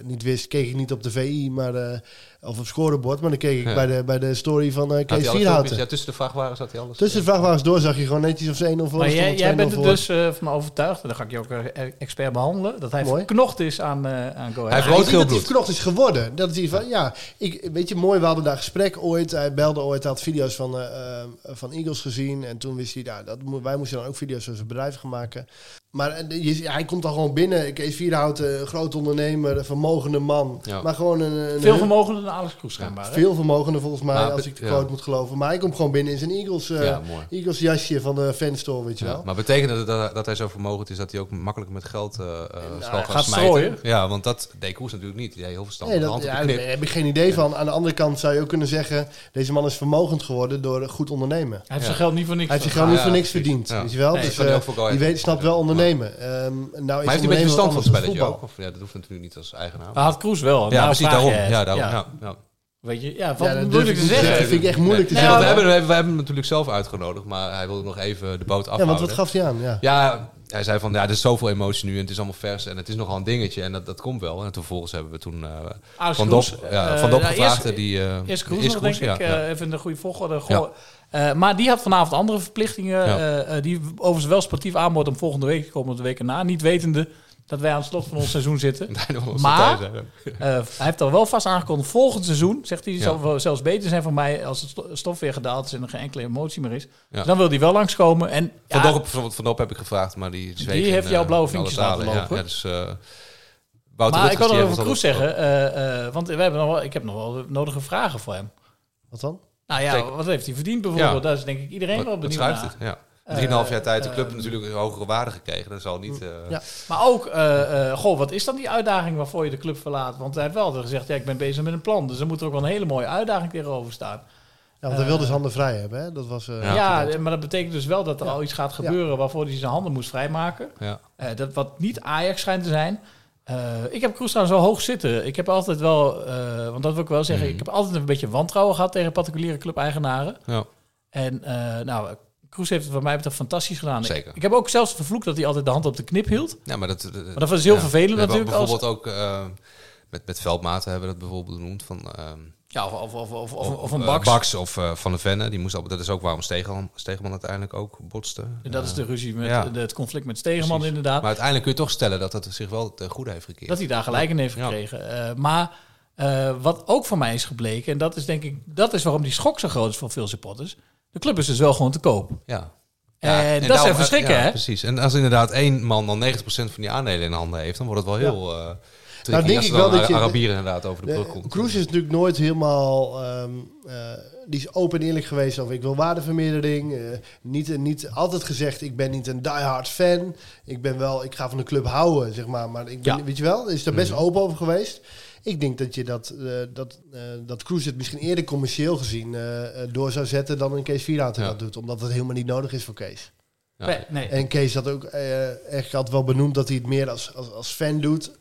[SPEAKER 15] niet wist, keek ik niet op de VI maar, eh, of op scorebord. Maar dan keek ik
[SPEAKER 9] Ja.
[SPEAKER 15] bij, de, bij de story van eh,
[SPEAKER 9] Had
[SPEAKER 15] Kees
[SPEAKER 9] hij alle filmpjes?
[SPEAKER 15] Vierhouten.
[SPEAKER 9] Ja, tussen de vrachtwagens had hij alles.
[SPEAKER 15] Tussen de vrachtwagens door zag je gewoon netjes of ze 1 of
[SPEAKER 3] Maar jij, jij bent er
[SPEAKER 15] voor.
[SPEAKER 3] dus eh, van overtuigd, en dan ga ik je ook eh, expert behandelen, dat hij verknocht is aan, eh aan Go Ahead.
[SPEAKER 15] Ja, ik denk dat hij verknocht is geworden. Dat hij van, ja, ik, weet je, mooi, we hadden daar gesprek ooit. Hij belde ooit, hij had video's van, eh, eh, van Eagles gezien. En toen wist hij, nou, dat, mo- wij moesten dan ook video's voor zijn bedrijf gaan maken. Maar eh, je- hij komt dan gewoon binnen. Kees Vierhouten, een groot ondernemer, een vermogende man.
[SPEAKER 3] Ja.
[SPEAKER 15] Maar gewoon een... een
[SPEAKER 3] Veel
[SPEAKER 15] een-
[SPEAKER 3] vermogender dan Alex Kroes schijnbaar. hè?
[SPEAKER 15] Veel vermogende volgens mij,
[SPEAKER 9] Maar
[SPEAKER 15] als
[SPEAKER 9] be-
[SPEAKER 15] ik de
[SPEAKER 9] Nou, ja.
[SPEAKER 15] quote moet geloven. Maar hij komt gewoon binnen in zijn Eagles, eh,
[SPEAKER 9] Ja, mooi.
[SPEAKER 15] Eagles jasje van de fanstore, weet je
[SPEAKER 9] Ja,
[SPEAKER 15] wel.
[SPEAKER 9] maar betekent dat, dat, dat hij zo vermogend is dat hij ook makkelijk met geld eh, eh, zal
[SPEAKER 15] hij
[SPEAKER 9] gaan smijten?
[SPEAKER 15] gaat strooien.
[SPEAKER 9] Ja, want dat deed Koers natuurlijk niet. Die deed heel verstandig.
[SPEAKER 15] Nee,
[SPEAKER 9] de
[SPEAKER 15] dat,
[SPEAKER 9] hand op
[SPEAKER 15] ja,
[SPEAKER 9] de knip.
[SPEAKER 15] daar heb ik geen idee van. Aan de andere kant zou je ook kunnen zeggen... deze man is vermogend geworden door goed ondernemen.
[SPEAKER 3] heeft zijn geld niet voor niks
[SPEAKER 15] Hij heeft zijn
[SPEAKER 3] verdiend.
[SPEAKER 15] geld niet voor
[SPEAKER 3] Ja,
[SPEAKER 15] niks
[SPEAKER 3] precies.
[SPEAKER 15] verdiend.
[SPEAKER 3] Ja.
[SPEAKER 15] Weet je wel?
[SPEAKER 3] Nee,
[SPEAKER 15] dus
[SPEAKER 3] dat kan hij
[SPEAKER 15] eh,
[SPEAKER 9] ook voor Go Ahead
[SPEAKER 15] die weet, snapt wel ondernemen. Ehm, nou,
[SPEAKER 9] maar
[SPEAKER 15] is
[SPEAKER 9] heeft hij een beetje verstand van het spelletje
[SPEAKER 15] voetbal. Ah,
[SPEAKER 9] ook? Of, ja, dat hoeft natuurlijk niet als eigenaar.
[SPEAKER 3] Maar had Kroes wel.
[SPEAKER 9] Ja,
[SPEAKER 3] Nou,
[SPEAKER 9] precies
[SPEAKER 3] vraag
[SPEAKER 9] daarom.
[SPEAKER 3] je het.
[SPEAKER 9] Ja, daarom.
[SPEAKER 3] Ja.
[SPEAKER 9] Ja, ja.
[SPEAKER 3] Weet je, ja, wat
[SPEAKER 15] Ja, dat
[SPEAKER 3] moet
[SPEAKER 15] durf
[SPEAKER 3] ik
[SPEAKER 15] ik
[SPEAKER 3] te
[SPEAKER 15] niet te
[SPEAKER 3] zeggen?
[SPEAKER 15] zeggen. Vind ik echt moeilijk te
[SPEAKER 3] Nee,
[SPEAKER 15] zeggen.
[SPEAKER 9] we,
[SPEAKER 3] maar-
[SPEAKER 9] hebben, we, hebben, we hebben hem natuurlijk zelf uitgenodigd, maar hij wilde nog even de boot afhouden.
[SPEAKER 15] wat gaf hij aan? Ja.
[SPEAKER 9] hij zei van, ja, er is zoveel emotie nu en het is allemaal vers en het is nogal een dingetje en dat, dat komt wel. En toen vervolgens hebben we toen eh,
[SPEAKER 3] Alex
[SPEAKER 9] Van Dop,
[SPEAKER 3] Kroes,
[SPEAKER 9] ja,
[SPEAKER 3] eh,
[SPEAKER 9] van Dop
[SPEAKER 3] nou,
[SPEAKER 9] gevraagd.
[SPEAKER 3] eerst-
[SPEAKER 9] eh, die, eh,
[SPEAKER 3] Eerst Kroes
[SPEAKER 9] eerst
[SPEAKER 3] nog,
[SPEAKER 9] Kroes,
[SPEAKER 3] denk ik.
[SPEAKER 9] ja, ja.
[SPEAKER 3] eh, even in de goede volgorde. Goh, eh, maar die had vanavond andere verplichtingen.
[SPEAKER 9] Ja.
[SPEAKER 3] eh, eh, die overigens wel sportief aanbod om volgende week te komen, de week erna. Niet wetende dat wij aan het slot van ons seizoen zitten.
[SPEAKER 9] ons
[SPEAKER 3] maar
[SPEAKER 9] partij
[SPEAKER 3] eh, hij heeft al wel vast aangekondigd. Volgend seizoen, zegt hij,
[SPEAKER 9] Ja.
[SPEAKER 3] zal wel zelfs beter zijn voor mij... als het sto- stof weer gedaald is en er geen enkele emotie meer is.
[SPEAKER 9] Ja.
[SPEAKER 3] Dus dan wil hij wel langskomen. En
[SPEAKER 9] Van,
[SPEAKER 3] ja,
[SPEAKER 9] Dop, van, van Dop heb ik gevraagd, maar die zweeg
[SPEAKER 3] Die heeft
[SPEAKER 9] in,
[SPEAKER 3] jouw
[SPEAKER 9] eh,
[SPEAKER 3] blauwe
[SPEAKER 9] in alle
[SPEAKER 3] vinkjes laten
[SPEAKER 9] talen. Ja,
[SPEAKER 3] lopen.
[SPEAKER 9] ja, dus, eh, Wouter
[SPEAKER 3] maar
[SPEAKER 9] Rutgers,
[SPEAKER 3] ik wil
[SPEAKER 9] die
[SPEAKER 3] nog
[SPEAKER 9] heeft
[SPEAKER 3] even
[SPEAKER 9] ons
[SPEAKER 3] Kroes
[SPEAKER 9] al-
[SPEAKER 3] zeggen, eh, eh, want we hebben nog wel, ik heb nog wel de nodige vragen voor hem.
[SPEAKER 15] Wat dan?
[SPEAKER 3] Nou ja,
[SPEAKER 9] Zeker.
[SPEAKER 3] wat heeft hij verdiend bijvoorbeeld?
[SPEAKER 9] Ja.
[SPEAKER 3] Daar is denk ik iedereen
[SPEAKER 9] Wat-
[SPEAKER 3] wel
[SPEAKER 9] wat
[SPEAKER 3] benieuwd
[SPEAKER 9] schuift
[SPEAKER 3] naar.
[SPEAKER 9] het? Ja.
[SPEAKER 3] Eh,
[SPEAKER 9] Drieënhalf jaar tijd de club
[SPEAKER 3] eh,
[SPEAKER 9] heeft natuurlijk een hogere waarde gekregen. Dat zal niet... eh,
[SPEAKER 3] ja. Maar ook, eh, eh, goh, wat is dan die uitdaging waarvoor je de club verlaat? Want hij heeft wel altijd gezegd, ja, ik ben bezig met een plan. Dus er moet er ook wel een hele mooie uitdaging tegenover staan.
[SPEAKER 15] Ja, want hij
[SPEAKER 9] Eh.
[SPEAKER 15] wilde zijn handen vrij hebben. Hè? Dat was, eh,
[SPEAKER 3] Ja, eh, maar dat betekent dus wel dat er al iets gaat gebeuren waarvoor hij zijn handen moest vrijmaken.
[SPEAKER 9] Ja.
[SPEAKER 3] Eh, dat wat niet Ajax schijnt te zijn. Eh, ik heb Kroes trouwens wel hoog zitten. Ik heb altijd wel, eh, want dat wil ik wel
[SPEAKER 9] Mhm.
[SPEAKER 3] zeggen, ik heb altijd een beetje wantrouwen gehad tegen particuliere club-eigenaren.
[SPEAKER 9] Ja.
[SPEAKER 3] En eh, nou, Kroes heeft het wat mij betreft fantastisch gedaan. Ik-
[SPEAKER 9] Zeker.
[SPEAKER 3] Ik, heb ook zelfs vervloekt dat hij altijd de hand op de knip hield.
[SPEAKER 9] Ja, maar dat, eh,
[SPEAKER 3] maar dat was dus heel
[SPEAKER 9] ja.
[SPEAKER 3] vervelend
[SPEAKER 9] We hebben
[SPEAKER 3] natuurlijk. als-
[SPEAKER 9] Bijvoorbeeld ook eh, met, met veldmaten hebben we dat bijvoorbeeld benoemd. Van, ehm,
[SPEAKER 3] Ja, of, of, of, of, of, of
[SPEAKER 9] eh,
[SPEAKER 3] een bak.
[SPEAKER 9] Baks of eh, Van de Venne. Die moest, al- dat is ook waarom Stegeman, Stegeman uiteindelijk ook botste.
[SPEAKER 3] En dat is
[SPEAKER 9] Eh,
[SPEAKER 3] de ruzie met
[SPEAKER 9] ja.
[SPEAKER 3] de- het conflict met Stegeman
[SPEAKER 9] Precies.
[SPEAKER 3] inderdaad.
[SPEAKER 9] Maar uiteindelijk kun je toch stellen dat het zich wel ten goede heeft gekeerd.
[SPEAKER 3] Dat hij daar gelijk in heeft
[SPEAKER 9] Ja.
[SPEAKER 3] gekregen. Eh, maar eh, wat ook van mij is gebleken, en dat is denk ik, dat is waarom die schok zo groot is voor veel supporters. De club is dus wel gewoon te koop.
[SPEAKER 9] Ja.
[SPEAKER 3] En,
[SPEAKER 9] Ja,
[SPEAKER 3] Eh, dat is
[SPEAKER 9] daarom- eh,
[SPEAKER 3] even schrikken,
[SPEAKER 9] ja,
[SPEAKER 3] hè?
[SPEAKER 9] Precies. En als inderdaad één man dan 90% van die aandelen in handen heeft, dan wordt het wel heel. eh tricky
[SPEAKER 15] Nou, denk
[SPEAKER 9] als
[SPEAKER 15] ik
[SPEAKER 9] er dan
[SPEAKER 15] wel dat je...
[SPEAKER 9] Ara- Arabieren inderdaad over de brug komt.
[SPEAKER 15] Cruz is natuurlijk nooit helemaal... ehm, eh, die is open en eerlijk geweest over ik wil waardevermeerdering. eh, niet, niet altijd gezegd ik ben niet een diehard fan. Ik ben wel, ik ga van de club houden, zeg maar. Maar ik ben,
[SPEAKER 3] Ja.
[SPEAKER 15] weet je wel, is daar best
[SPEAKER 3] Mhm.
[SPEAKER 15] open over geweest. Ik denk dat je dat, eh, dat, eh dat Cruz het misschien eerder commercieel gezien eh, eh, door zou zetten dan een Kees Vierhouten dat doet. Omdat dat helemaal niet nodig is voor Kees.
[SPEAKER 3] Ja. Nee, nee.
[SPEAKER 15] En Kees had ook eh echt had wel benoemd dat hij het meer als, als, als fan doet.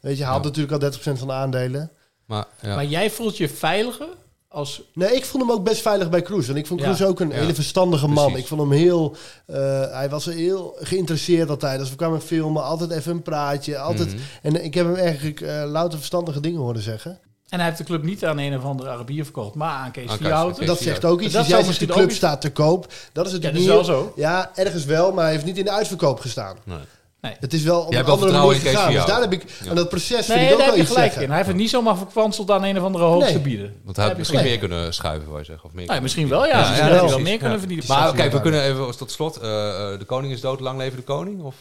[SPEAKER 15] Weet je, hij haalt natuurlijk al 30% van de aandelen.
[SPEAKER 9] Maar, ja.
[SPEAKER 3] Maar jij voelt je veiliger als...
[SPEAKER 15] Nee, ik vond hem ook best veilig bij Cruz. En ik vond
[SPEAKER 3] Ja.
[SPEAKER 15] Cruz ook een
[SPEAKER 3] Ja.
[SPEAKER 15] hele verstandige man.
[SPEAKER 3] Precies.
[SPEAKER 15] Ik vond hem heel... eh, hij was heel geïnteresseerd altijd. Als we kwamen filmen, altijd even een praatje. Altijd,
[SPEAKER 3] Mhm.
[SPEAKER 15] En ik heb hem eigenlijk eh, louter verstandige dingen horen zeggen.
[SPEAKER 3] En hij heeft de club niet aan een of andere Arabier verkocht, maar aan Kees
[SPEAKER 9] Aan Kees- aan
[SPEAKER 3] Vierhouten.
[SPEAKER 9] Kees
[SPEAKER 15] Dat zegt ook iets. Dat jij zegt, de club staat te koop. Dat is
[SPEAKER 3] Ja,
[SPEAKER 15] natuurlijk
[SPEAKER 3] dat is
[SPEAKER 15] niet-
[SPEAKER 3] wel zo.
[SPEAKER 15] Ja, ergens wel, maar hij heeft niet in de uitverkoop gestaan.
[SPEAKER 9] Nee.
[SPEAKER 3] Nee.
[SPEAKER 15] Het is wel op
[SPEAKER 9] Jij hebt
[SPEAKER 15] een
[SPEAKER 9] wel
[SPEAKER 15] andere
[SPEAKER 9] vertrouwen
[SPEAKER 15] manier
[SPEAKER 9] in Kees
[SPEAKER 15] gegaan. Dus daar heb
[SPEAKER 9] Vierhouten.
[SPEAKER 15] ik
[SPEAKER 9] Ja.
[SPEAKER 15] aan dat proces
[SPEAKER 3] Nee,
[SPEAKER 15] vind ik
[SPEAKER 3] daar
[SPEAKER 15] ook
[SPEAKER 3] heb
[SPEAKER 15] wel
[SPEAKER 3] je
[SPEAKER 15] iets
[SPEAKER 3] gelijk
[SPEAKER 15] zeggen.
[SPEAKER 3] in. Hij heeft het niet zomaar verkwanseld aan een of andere hoogste
[SPEAKER 15] Nee.
[SPEAKER 3] bieden.
[SPEAKER 9] Want hij had
[SPEAKER 3] Heb je
[SPEAKER 9] misschien
[SPEAKER 3] gelijk. Nou,
[SPEAKER 9] meer kunnen schuiven, wou je zeggen. Of meer
[SPEAKER 3] Ja,
[SPEAKER 9] kunnen
[SPEAKER 3] misschien
[SPEAKER 9] verdienen.
[SPEAKER 3] wel, ja. Misschien had hij wel
[SPEAKER 9] precies.
[SPEAKER 3] meer kunnen verdienen.
[SPEAKER 9] Maar
[SPEAKER 3] Precies.
[SPEAKER 9] kijk, we kunnen even als tot slot. eh, eh, de koning is dood, lang leven de koning? Of?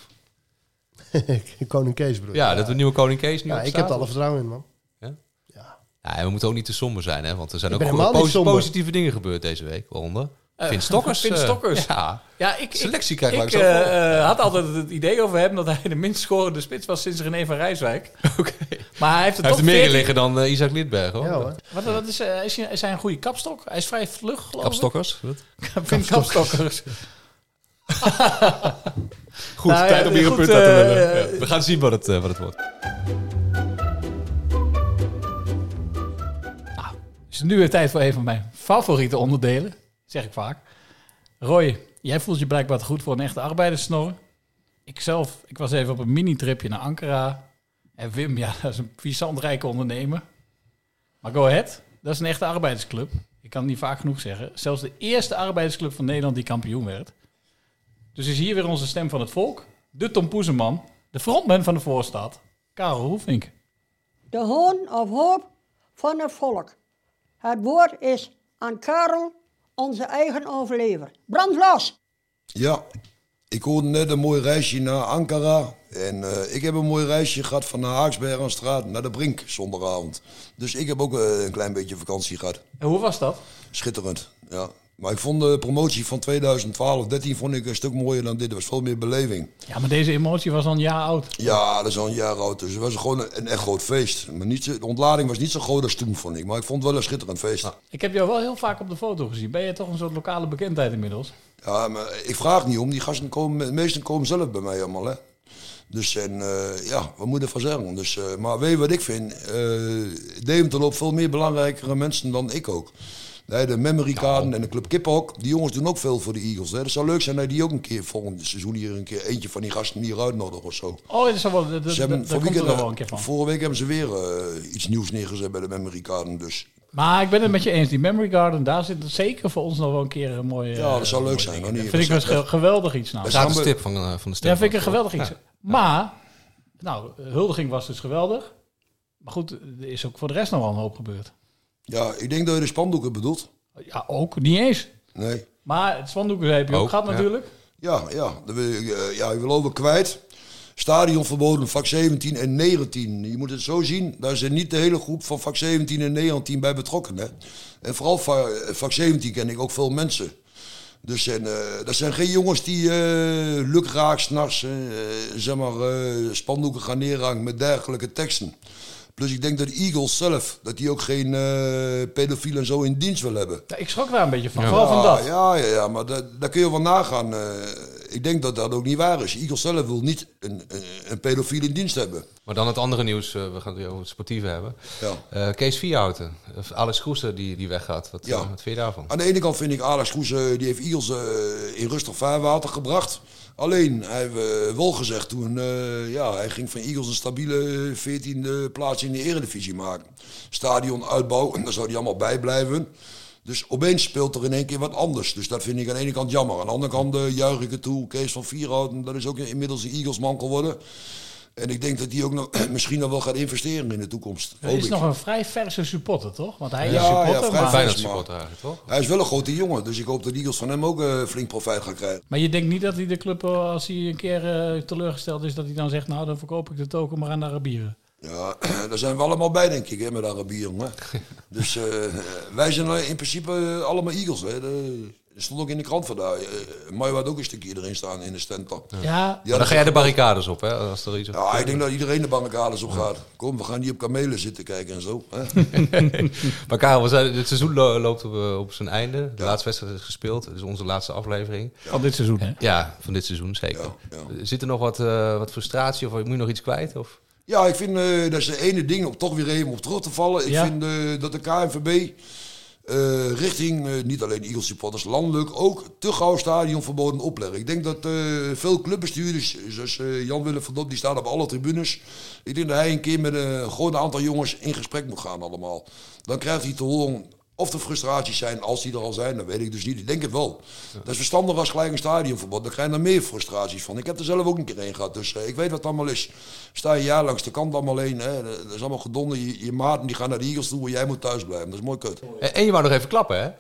[SPEAKER 15] Koning Kees bedoel je?
[SPEAKER 9] Ja, dat we nieuwe koning Kees nu
[SPEAKER 15] Ja,
[SPEAKER 9] op
[SPEAKER 15] ik heb
[SPEAKER 9] staat.
[SPEAKER 15] er alle vertrouwen in, man.
[SPEAKER 9] Ja, en we moeten ook niet te somber zijn, hè? Want er zijn
[SPEAKER 15] Ik
[SPEAKER 9] ook
[SPEAKER 15] ben
[SPEAKER 9] goede
[SPEAKER 15] helemaal niet
[SPEAKER 9] posi-
[SPEAKER 15] somber.
[SPEAKER 9] positieve dingen gebeurd deze week. Waaronder
[SPEAKER 3] Eh,
[SPEAKER 9] Vin Stokkers.
[SPEAKER 3] Vin
[SPEAKER 9] eh,
[SPEAKER 3] Stokkers.
[SPEAKER 9] ja.
[SPEAKER 3] Ja, ik,
[SPEAKER 9] Selectie
[SPEAKER 3] ik,
[SPEAKER 9] krijg
[SPEAKER 3] ik
[SPEAKER 9] langs ook wel.
[SPEAKER 3] eh, eh, had altijd het idee over hem dat hij de minst scorende spits was sinds René van Rijswijk. Oké. Maar hij heeft het
[SPEAKER 9] Hij heeft er
[SPEAKER 3] toch
[SPEAKER 9] meer in
[SPEAKER 3] 14
[SPEAKER 9] liggen dan eh, Isaac Lidberg, hoor.
[SPEAKER 3] Wat, wat is, eh, is, hij, is hij een goede kapstok? Hij is vrij vlug, geloof ik.
[SPEAKER 9] Kapstokkers? Wat?
[SPEAKER 15] Nou
[SPEAKER 3] Ik vind kapstokkers.
[SPEAKER 9] Goed,
[SPEAKER 3] Nou,
[SPEAKER 9] tijd
[SPEAKER 3] ja,
[SPEAKER 9] om hier een
[SPEAKER 3] goed,
[SPEAKER 9] punt uit te
[SPEAKER 3] eh,
[SPEAKER 9] lullen.
[SPEAKER 3] eh,
[SPEAKER 9] Ja, we gaan zien wat het, eh, wat het wordt.
[SPEAKER 3] Het is nu weer tijd voor een van mijn favoriete onderdelen. Zeg ik vaak. Roy, jij voelt je blijkbaar te goed voor een echte arbeiderssnor. Ikzelf, ik was even op een mini-tripje naar Ankara. En Wim, ja, dat is een puissant rijke ondernemer. Maar Go Ahead, dat is een echte arbeidersclub. Ik kan het niet vaak genoeg zeggen. Zelfs de eerste arbeidersclub van Nederland die kampioen werd. Dus is hier weer onze stem van het volk. De Tom Poezeman, de frontman van de voorstad, Karel Hoefink.
[SPEAKER 8] De hoon of hoop van het volk. Het woord is aan Karel, onze eigen overlever. Brand los!
[SPEAKER 16] Ja, ik hoorde net een mooi reisje naar Ankara. En eh, ik heb een mooi reisje gehad van de Haaksbergenstraat naar de Brink zondagavond. Dus ik heb ook eh, een klein beetje vakantie gehad.
[SPEAKER 3] En hoe was dat?
[SPEAKER 16] Schitterend, ja. Maar ik vond de promotie van 2012-13 vond ik een stuk mooier dan dit. Er was veel meer beleving.
[SPEAKER 3] Ja, maar deze emotie was al een jaar oud.
[SPEAKER 16] Ja, dat is al een jaar oud. Dus het was gewoon een, een echt groot feest. Maar niet, zo- de ontlading was niet zo groot als toen, vond ik. Maar ik vond het wel een schitterend feest.
[SPEAKER 3] Ik heb jou wel heel vaak op de foto gezien. Ben je toch een soort lokale bekendheid inmiddels?
[SPEAKER 16] Ja, maar ik vraag niet om. Die gasten komen, de meesten komen zelf bij mij allemaal, hè. Dus en, eh, ja, wat moet je ervan zeggen? Dus, eh, maar weet je wat ik vind? Eh Deventer loopt veel meer belangrijkere mensen dan ik ook. Nee, de Memorykaden en de Club Kiphok, die jongens doen ook veel voor de Eagles. Hè. Het zou leuk zijn dat die ook een keer volgend seizoen hier een keer eentje van die gasten hier uitnodigen of zo.
[SPEAKER 3] Oh, dat, is wel, dat, dat,
[SPEAKER 16] Ze hebben
[SPEAKER 3] dat
[SPEAKER 16] voor
[SPEAKER 3] komt er
[SPEAKER 16] weekend-
[SPEAKER 3] nog wel een keer van.
[SPEAKER 16] Vorige week hebben ze weer eh, iets nieuws neergezet bij de Memorykaden. Dus
[SPEAKER 3] Maar ik ben het met je eens. Die Memory Garden, daar zit zeker voor ons nog wel een keer een mooie...
[SPEAKER 16] ja, dat zou
[SPEAKER 3] eh,
[SPEAKER 16] leuk zijn. hoor.
[SPEAKER 3] Dat
[SPEAKER 16] Nee,
[SPEAKER 3] vind ik
[SPEAKER 16] dat
[SPEAKER 3] een
[SPEAKER 16] zou-
[SPEAKER 3] ge- geweldig iets
[SPEAKER 16] Dat
[SPEAKER 3] namelijk.
[SPEAKER 16] zou-
[SPEAKER 9] Gratis tip van, eh, van de stem.
[SPEAKER 3] Ja, vind ik een
[SPEAKER 9] van het
[SPEAKER 3] geweldig
[SPEAKER 9] volk.
[SPEAKER 3] iets. Maar, nou, huldiging was dus geweldig. Maar goed, er is ook voor de rest nog wel een hoop gebeurd.
[SPEAKER 16] Ja, ik denk dat je de spandoeken bedoelt.
[SPEAKER 3] Ja, ook. Niet eens.
[SPEAKER 16] Nee.
[SPEAKER 3] Maar het spandoek heb je ook, gehad natuurlijk.
[SPEAKER 16] Ja, ja. Dat wil ik, eh, ja, ik wil over kwijt. Stadion verboden, vak 17 en 19. Je moet het zo zien, daar zijn niet de hele groep van vak 17 en 19 bij betrokken. Hè? En vooral va- eh, vak 17 ken ik ook veel mensen. Dus en, eh, dat zijn geen jongens die eh lukraak s'nachts eh zeg maar, eh, spandoeken gaan neerhangen met dergelijke teksten. Plus ik denk dat Eagles zelf, dat die ook geen eh pedofielen en zo in dienst wil hebben.
[SPEAKER 3] Ja, ik schrok daar een beetje van. Vooral van dat.
[SPEAKER 16] Ja, ja, ja maar da- daar kun je wel nagaan. eh, ik denk dat dat ook niet waar is. Eagles zelf wil niet een, een, een pedofiel in dienst hebben.
[SPEAKER 9] Maar dan het andere nieuws, eh, we gaan het weer over het sportieve hebben. Eh, Kees Vierhouten, of Alex Kroeser die, die weggaat. Wat,
[SPEAKER 16] Ja.
[SPEAKER 9] eh, wat vind je daarvan?
[SPEAKER 16] Aan de ene kant vind ik Alex Kroes, eh, die heeft Eagles eh, in rustig vaarwater gebracht. Alleen, hij heeft eh, wel gezegd toen, eh, ja, hij ging van Eagles een stabiele 14e plaats in de eredivisie maken. Stadion uitbouw, en daar zou hij allemaal bij blijven. Dus opeens speelt er in één keer wat anders. Dus dat vind ik aan de ene kant jammer. Aan de andere kant eh, juich ik het toe. Kees van Vierhouten, dat is ook inmiddels een Eagles-man geworden. En ik denk dat hij ook nog, misschien nog wel gaat investeren in de toekomst.
[SPEAKER 3] Hij
[SPEAKER 16] Hoop
[SPEAKER 3] is
[SPEAKER 16] ik.
[SPEAKER 3] nog een vrij verse supporter, toch? Want hij
[SPEAKER 16] Ja,
[SPEAKER 3] is supporter,
[SPEAKER 16] vrij
[SPEAKER 3] maar...
[SPEAKER 16] vers, maar Hij is wel een grote jongen, dus ik hoop dat de Eagles van hem ook eh, flink profijt gaan krijgen.
[SPEAKER 3] Maar je denkt niet dat hij de club, eh, als hij een keer eh, teleurgesteld is, dat hij dan zegt, nou, dan verkoop ik de token maar aan de Arabieren.
[SPEAKER 16] Ja, daar zijn we allemaal bij, denk ik, hè, met Arabieren. hè. dus eh, wij zijn eh, in principe eh, allemaal Eagles. Hè. De- Dat stond ook in de krant vandaag. Eh, Mayo had ook een stukje erin staan in de stand. toch?
[SPEAKER 3] Ja.
[SPEAKER 16] Die
[SPEAKER 9] Maar
[SPEAKER 16] hadden
[SPEAKER 9] dan ga jij de
[SPEAKER 16] ze-
[SPEAKER 9] barricades op, hè? Als er iets
[SPEAKER 16] Ja, ik denk dat iedereen de barricades op gaat. Kom, we gaan niet op kamelen zitten kijken en zo. Hè.
[SPEAKER 9] maar Karel, we zijn- het seizoen lo- loopt op, eh, op zijn einde. De laatste wedstrijd is gespeeld. Dat is onze laatste aflevering.
[SPEAKER 3] Van dit seizoen, hè?
[SPEAKER 9] Ja, van dit seizoen zeker. Zit er nog wat, eh, wat frustratie of moet je nog iets kwijt? Of?
[SPEAKER 16] Ja, ik vind eh, dat is de ene ding om toch weer even op terug te vallen. Ik
[SPEAKER 9] Ja.
[SPEAKER 16] vind eh, dat de KNVB eh, richting eh, niet alleen Eagles supporters, landelijk ook te gauw stadionverboden opleggen. Ik denk dat eh, veel clubbestuurders, zoals eh, Jan Willem van Dop, die staan op alle tribunes. Ik denk dat hij een keer met een groot aantal jongens in gesprek moet gaan allemaal. Dan krijgt hij te horen of er frustraties zijn, als die er al zijn, dat weet ik dus niet. Ik denk het wel. Dat is verstandig als gelijk een stadionverbod. Dan krijg je er meer frustraties van. Ik heb er zelf ook een keer een gehad, dus eh, ik weet wat het allemaal is. Sta je jaar langs de kant allemaal heen. Hè. Dat is allemaal gedonder. Je, je maten die gaan naar de Eagles toe en jij moet thuis blijven. Dat is mooi kut.
[SPEAKER 9] En, en je wou nog even klappen, hè?